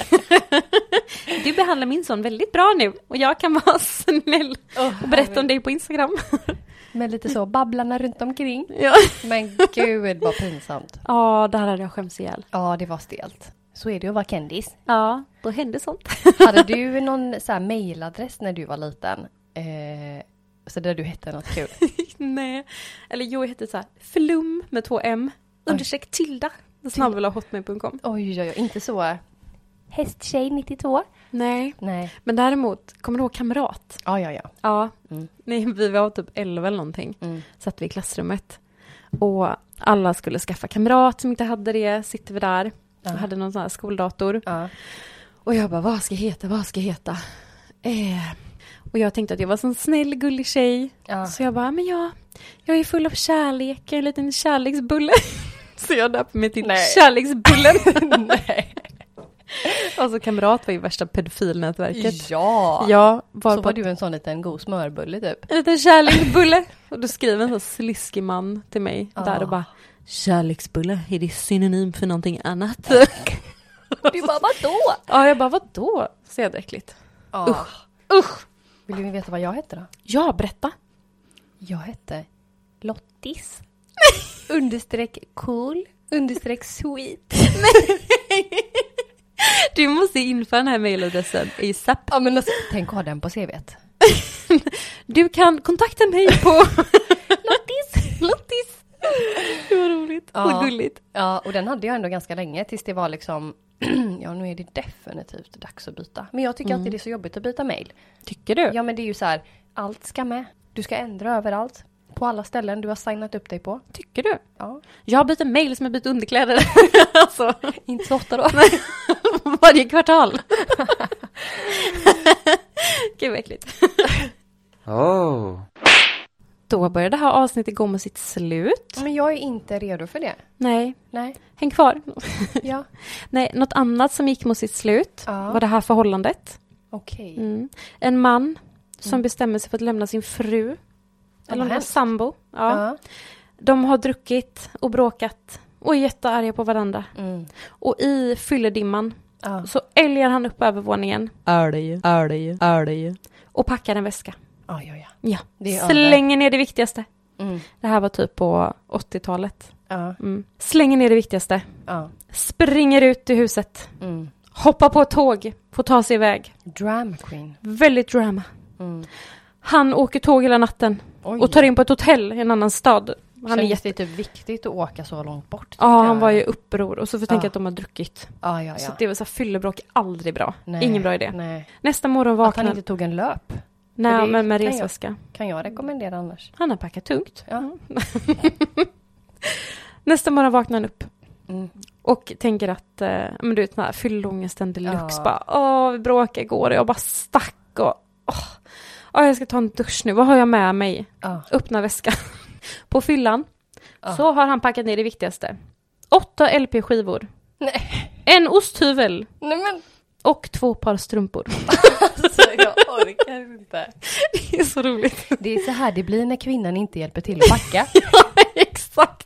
Speaker 2: Du behandlar min son väldigt bra nu och jag kan vara snäll och berätta om dig på Instagram.
Speaker 1: Med lite så babblarna runt omkring.
Speaker 2: Ja,
Speaker 1: Men gud vad pinsamt.
Speaker 2: ja där hade jag skämts ihjäl.
Speaker 1: Ja, det var stelt. Så är det ju att vara kändis.
Speaker 2: Ja, då hände sånt.
Speaker 1: Hade du någon så här mailadress när du var liten? Eh, så där du hette något kul?
Speaker 2: Nej. Eller jo, jag hette så här, flum med två m, understreck tilda, snabel hotmail.com.
Speaker 1: Oj, oj, oj, inte så. Hästtjej 92?
Speaker 2: Nej.
Speaker 1: Nej.
Speaker 2: Men däremot, kommer du ihåg kamrat?
Speaker 1: Ja, ja, ja.
Speaker 2: Ja.
Speaker 1: Mm.
Speaker 2: Nej, vi var typ 11 eller någonting.
Speaker 1: Mm.
Speaker 2: Satt vi i klassrummet. Och alla skulle skaffa kamrat som inte hade det. Sitter vi där.
Speaker 1: Ja.
Speaker 2: Och hade någon sån här skoldator.
Speaker 1: ja.
Speaker 2: Och jag bara, vad ska jag heta, vad ska jag heta? Eh. Och jag tänkte att jag var en sån snäll, gullig tjej.
Speaker 1: Ja.
Speaker 2: Så jag bara, men jag, jag är full av kärlek, jag är en liten kärleksbulle. Så jag döpte mig till
Speaker 1: Nej.
Speaker 2: Kärleksbullen.
Speaker 1: Nej.
Speaker 2: alltså kamrat var ju värsta pedofilnätverket.
Speaker 1: Ja!
Speaker 2: Jag var
Speaker 1: Så
Speaker 2: på
Speaker 1: var du en sån liten god smörbulle typ.
Speaker 2: en liten kärleksbulle. Och då skriver en sån sliskig man till mig
Speaker 1: Ja.
Speaker 2: där och bara Kärleksbulle, är det synonym för någonting annat?
Speaker 1: Du bara, vadå?
Speaker 2: ja, jag bara vadå? Så jävla äckligt.
Speaker 1: Ja. Usch.
Speaker 2: Usch!
Speaker 1: Vill du veta vad jag hette då?
Speaker 2: Ja, berätta.
Speaker 1: Jag hette Lottis. understreck cool. Understreck sweet.
Speaker 2: Du måste införa den här mailadressen ASAP.
Speaker 1: Ja men alltså, tänk att ha den på CVt.
Speaker 2: Du kan kontakta mig på Lottis. Lottis. Det var roligt
Speaker 1: Ja.
Speaker 2: och gulligt.
Speaker 1: Ja och den hade jag ändå ganska länge tills det var liksom Ja nu är det definitivt dags att byta. Men jag tycker alltid det är så jobbigt att byta mail.
Speaker 2: Tycker du?
Speaker 1: Mm. Ja men det är ju så här, allt ska med. Du ska ändra överallt. På alla ställen du har signat upp dig på.
Speaker 2: Tycker du?
Speaker 1: Ja.
Speaker 2: Jag byter mail som jag byter underkläder. alltså,
Speaker 1: Inte så ofta då.
Speaker 2: varje kvartal. Gud vad äckligt.
Speaker 4: Oh.
Speaker 2: Då börjar det här avsnittet gå mot sitt slut.
Speaker 1: Men jag är inte redo för det.
Speaker 2: Nej,
Speaker 1: Nej.
Speaker 2: häng kvar.
Speaker 1: Ja.
Speaker 2: Nej, något annat som gick mot sitt slut
Speaker 1: Ja.
Speaker 2: var det här förhållandet.
Speaker 1: Okej.
Speaker 2: Mm. En man som bestämmer sig för att lämna sin fru. Eller om det var
Speaker 1: hemskt.
Speaker 2: sambo. Ja.
Speaker 1: Ja.
Speaker 2: De har druckit och bråkat och är jättearga på varandra.
Speaker 1: Mm.
Speaker 2: Och i fylledimman
Speaker 1: Ja.
Speaker 2: så älgar han upp övervåningen. Älg, älg, älg. Och packar en väska.
Speaker 1: Ja, ja, ja.
Speaker 2: Ja.
Speaker 1: Det är
Speaker 2: Slänger ner det viktigaste.
Speaker 1: Mm.
Speaker 2: Det här var typ på 80-talet.
Speaker 1: Ja,
Speaker 2: Mm. Slänger ner det viktigaste.
Speaker 1: ja.
Speaker 2: Springer ut i huset.
Speaker 1: Mm.
Speaker 2: Hoppar på ett tåg. Får ta sig iväg.
Speaker 1: Drama queen.
Speaker 2: Väldigt drama.
Speaker 1: Mm.
Speaker 2: Han åker tåg hela natten.
Speaker 1: Oj.
Speaker 2: Och tar in på ett hotell i en annan stad. Han
Speaker 1: Han
Speaker 2: är
Speaker 1: Känns
Speaker 2: jätte...
Speaker 1: det typ viktigt att åka så långt bort?
Speaker 2: Ja, han var ju uppror och så får jag tänka
Speaker 1: Ja.
Speaker 2: att de har druckit.
Speaker 1: Ja, ja,
Speaker 2: Så
Speaker 1: ja.
Speaker 2: det var så här, fyllebråk är aldrig bra.
Speaker 1: Nej,
Speaker 2: Ingen bra idé.
Speaker 1: Nej.
Speaker 2: Nästa morgon
Speaker 1: Att
Speaker 2: vaknar
Speaker 1: han inte tog en löp för
Speaker 2: Nej,
Speaker 1: det
Speaker 2: men med
Speaker 1: kan jag.
Speaker 2: resväska.
Speaker 1: kan jag rekommendera annars.
Speaker 2: Han har packat tungt.
Speaker 1: Ja.
Speaker 2: Nästa morgon vaknar han upp
Speaker 1: Mm.
Speaker 2: och tänker att, eh, men du vet den här fyllångesten deluxe,
Speaker 1: Ja.
Speaker 2: bara åh, vi bråkade igår och jag bara stack och åh, åh, jag ska ta en dusch nu, vad har jag med mig?
Speaker 1: Ja.
Speaker 2: Öppna väskan. På fyllan
Speaker 1: Ja.
Speaker 2: så har han packat ner det viktigaste. Åtta LP-skivor,
Speaker 1: Nej.
Speaker 2: en osthyvel
Speaker 1: Nej men
Speaker 2: och två par strumpor.
Speaker 1: alltså, jag orkar inte.
Speaker 2: Det är så roligt.
Speaker 1: Det är så här det blir när kvinnan inte hjälper till att packa.
Speaker 2: Exakt.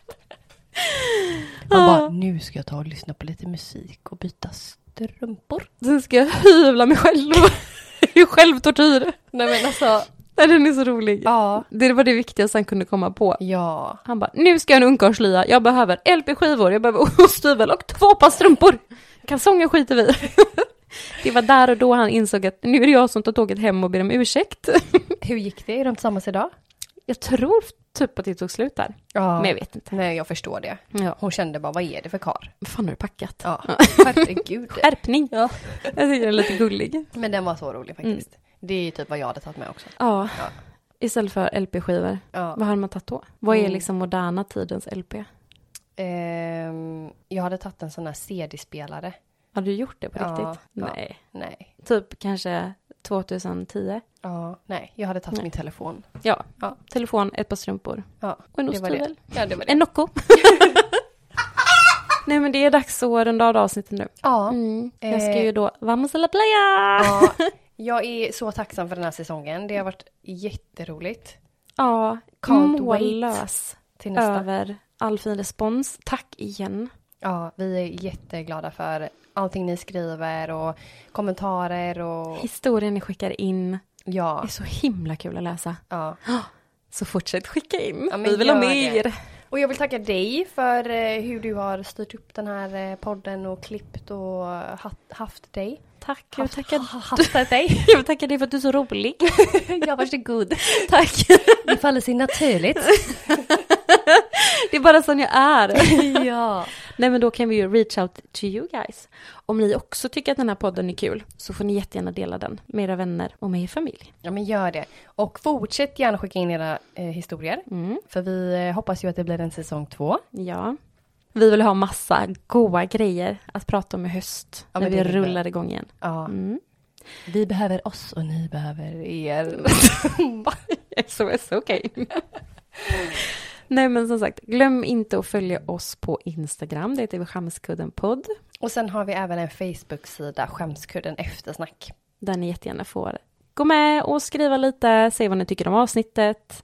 Speaker 1: Man
Speaker 2: Ja.
Speaker 1: bara, nu ska jag ta och lyssna på lite musik och byta strumpor.
Speaker 2: Sen ska jag hyvla mig själv. Det är ju självtortyr.
Speaker 1: Nej men alltså.
Speaker 2: Nej, den är så rolig.
Speaker 1: Ja.
Speaker 2: Det var det viktigaste han kunde komma på.
Speaker 1: Ja.
Speaker 2: Han bara, nu ska jag ha en ungkarlslya, jag behöver LP-skivor, jag behöver osthyvel och två par strumpor. Kalsonger skiter vi i." Det var där och då han insåg att nu är det jag som tar tåget hem och ber om ursäkt.
Speaker 1: Hur gick det? Är de tillsammans idag?
Speaker 2: Jag tror typ att det tog slut där,
Speaker 1: Ja.
Speaker 2: men jag vet inte.
Speaker 1: Nej jag förstår det.
Speaker 2: Ja.
Speaker 1: Hon kände bara, vad är det för kar?
Speaker 2: Vad fan har du packat?
Speaker 1: Ja. Herregud.
Speaker 2: Skärpning!
Speaker 1: Ja.
Speaker 2: Jag tycker den är lite gullig.
Speaker 1: Men den var så rolig
Speaker 2: Mm.
Speaker 1: faktiskt. Det är typ vad jag hade tagit med också.
Speaker 2: Ja,
Speaker 1: Ja.
Speaker 2: istället för LP-skivor.
Speaker 1: Ja.
Speaker 2: Vad hade man tagit då? Vad är
Speaker 1: Mm.
Speaker 2: liksom moderna tidens LP?
Speaker 1: Ehm, jag hade tagit en sån här CD-spelare.
Speaker 2: Har du gjort det på
Speaker 1: Ja,
Speaker 2: riktigt?
Speaker 1: ja.
Speaker 2: Nej.
Speaker 1: Nej.
Speaker 2: Typ kanske 2010?
Speaker 1: Ja. Nej, jag hade tagit
Speaker 2: Nej.
Speaker 1: min telefon.
Speaker 2: Ja.
Speaker 1: Ja.
Speaker 2: Telefon, ett par strumpor
Speaker 1: Ja,
Speaker 2: och en
Speaker 1: det var det.
Speaker 2: osthyvel.
Speaker 1: Ja, det var det.
Speaker 2: En Nocco. Nej men det är dags att runda av avsnittet nu.
Speaker 1: Ja.
Speaker 2: Mm. Jag ska
Speaker 1: Eh.
Speaker 2: ju då, vamos a la playa! Ja.
Speaker 1: ja. Jag är så tacksam för den här säsongen. Det har varit jätteroligt. Can't wait.
Speaker 2: mållös
Speaker 1: Till nästa.
Speaker 2: över all fin respons. Tack igen.
Speaker 1: Ja, vi är jätteglada för allting ni skriver och kommentarer och
Speaker 2: Historien ni skickar in
Speaker 1: ja.
Speaker 2: är så himla kul att läsa.
Speaker 1: ja.
Speaker 2: Så fortsätt skicka in.
Speaker 1: Ja, men
Speaker 2: Vi vill ha
Speaker 1: gör
Speaker 2: mer.
Speaker 1: det. Och jag vill tacka dig för eh, hur du har styrt upp den här eh, podden och klippt och haft, haft dig.
Speaker 2: Tack. Jag vill
Speaker 1: Haft-
Speaker 2: tacka,
Speaker 1: ha- haftat dig.
Speaker 2: jag vill tacka dig för att du är så rolig.
Speaker 1: ja, varsågod.
Speaker 2: Tack.
Speaker 1: Det faller sig naturligt.
Speaker 2: Det är bara sån jag är.
Speaker 1: ja.
Speaker 2: Nej men då kan vi ju reach out to you guys. Om ni också tycker att den här podden är kul så får ni jättegärna dela den med era vänner och med er familj.
Speaker 1: Ja men gör det. Och fortsätt gärna skicka in era eh, historier. För vi eh, hoppas ju att det blir en säsong två.
Speaker 2: Mm, Ja. Vi vill ha massa goa grejer att prata om i höst
Speaker 1: Ja,
Speaker 2: när
Speaker 1: men
Speaker 2: vi
Speaker 1: det vill vi.
Speaker 2: rullar igång igen.
Speaker 1: Ja.
Speaker 2: Mm.
Speaker 1: Vi behöver oss och ni behöver er.
Speaker 2: SOS, okej. Nej men som sagt, glöm inte att följa oss på Instagram, det heter vi Skamskuddenpodd.
Speaker 1: och sen har vi även en Facebook-sida, Skämskudden Eftersnack.
Speaker 2: Där ni jättegärna får gå med och skriva lite, säg vad ni tycker om avsnittet.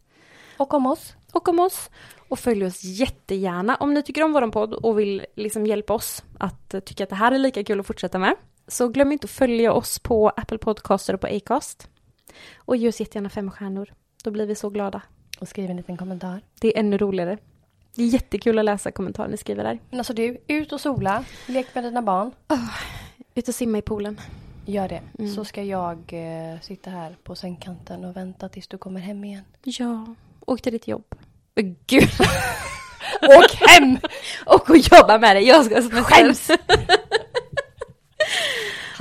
Speaker 1: Och om oss.
Speaker 2: och om oss. Och följ oss jättegärna om ni tycker om vår podd och vill liksom hjälpa oss att eh, tycka att det här är lika kul att fortsätta med. Så glöm inte att följa oss på Apple Podcaster och på Acast. Och ge oss jättegärna fem stjärnor. Då blir vi så glada.
Speaker 1: Och skriv en liten kommentar.
Speaker 2: Det är ännu roligare. Det är jättekul att läsa kommentarer ni skriver där.
Speaker 1: Men alltså du, ut och sola. Lek med dina barn.
Speaker 2: Ut och simma i poolen.
Speaker 1: Gör det. Så ska jag eh, sitta här på sängkanten och vänta tills du kommer hem igen.
Speaker 2: Ja. Åk till ditt jobb. Åh, Gud!
Speaker 1: Åk hem!
Speaker 2: och att jobba med det. Jag ska semester.
Speaker 1: Skäms! Ha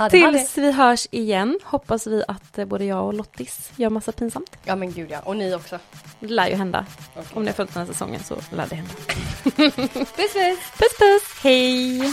Speaker 1: det, ha det.
Speaker 2: Tills vi hörs igen hoppas vi att eh, både jag och Lottis gör massa pinsamt.
Speaker 1: Ja men gud ja, och ni också.
Speaker 2: Det lär ju hända. Om ni har följt den här säsongen så lär det hända.
Speaker 1: Puss puss!
Speaker 2: Puss puss! Hej!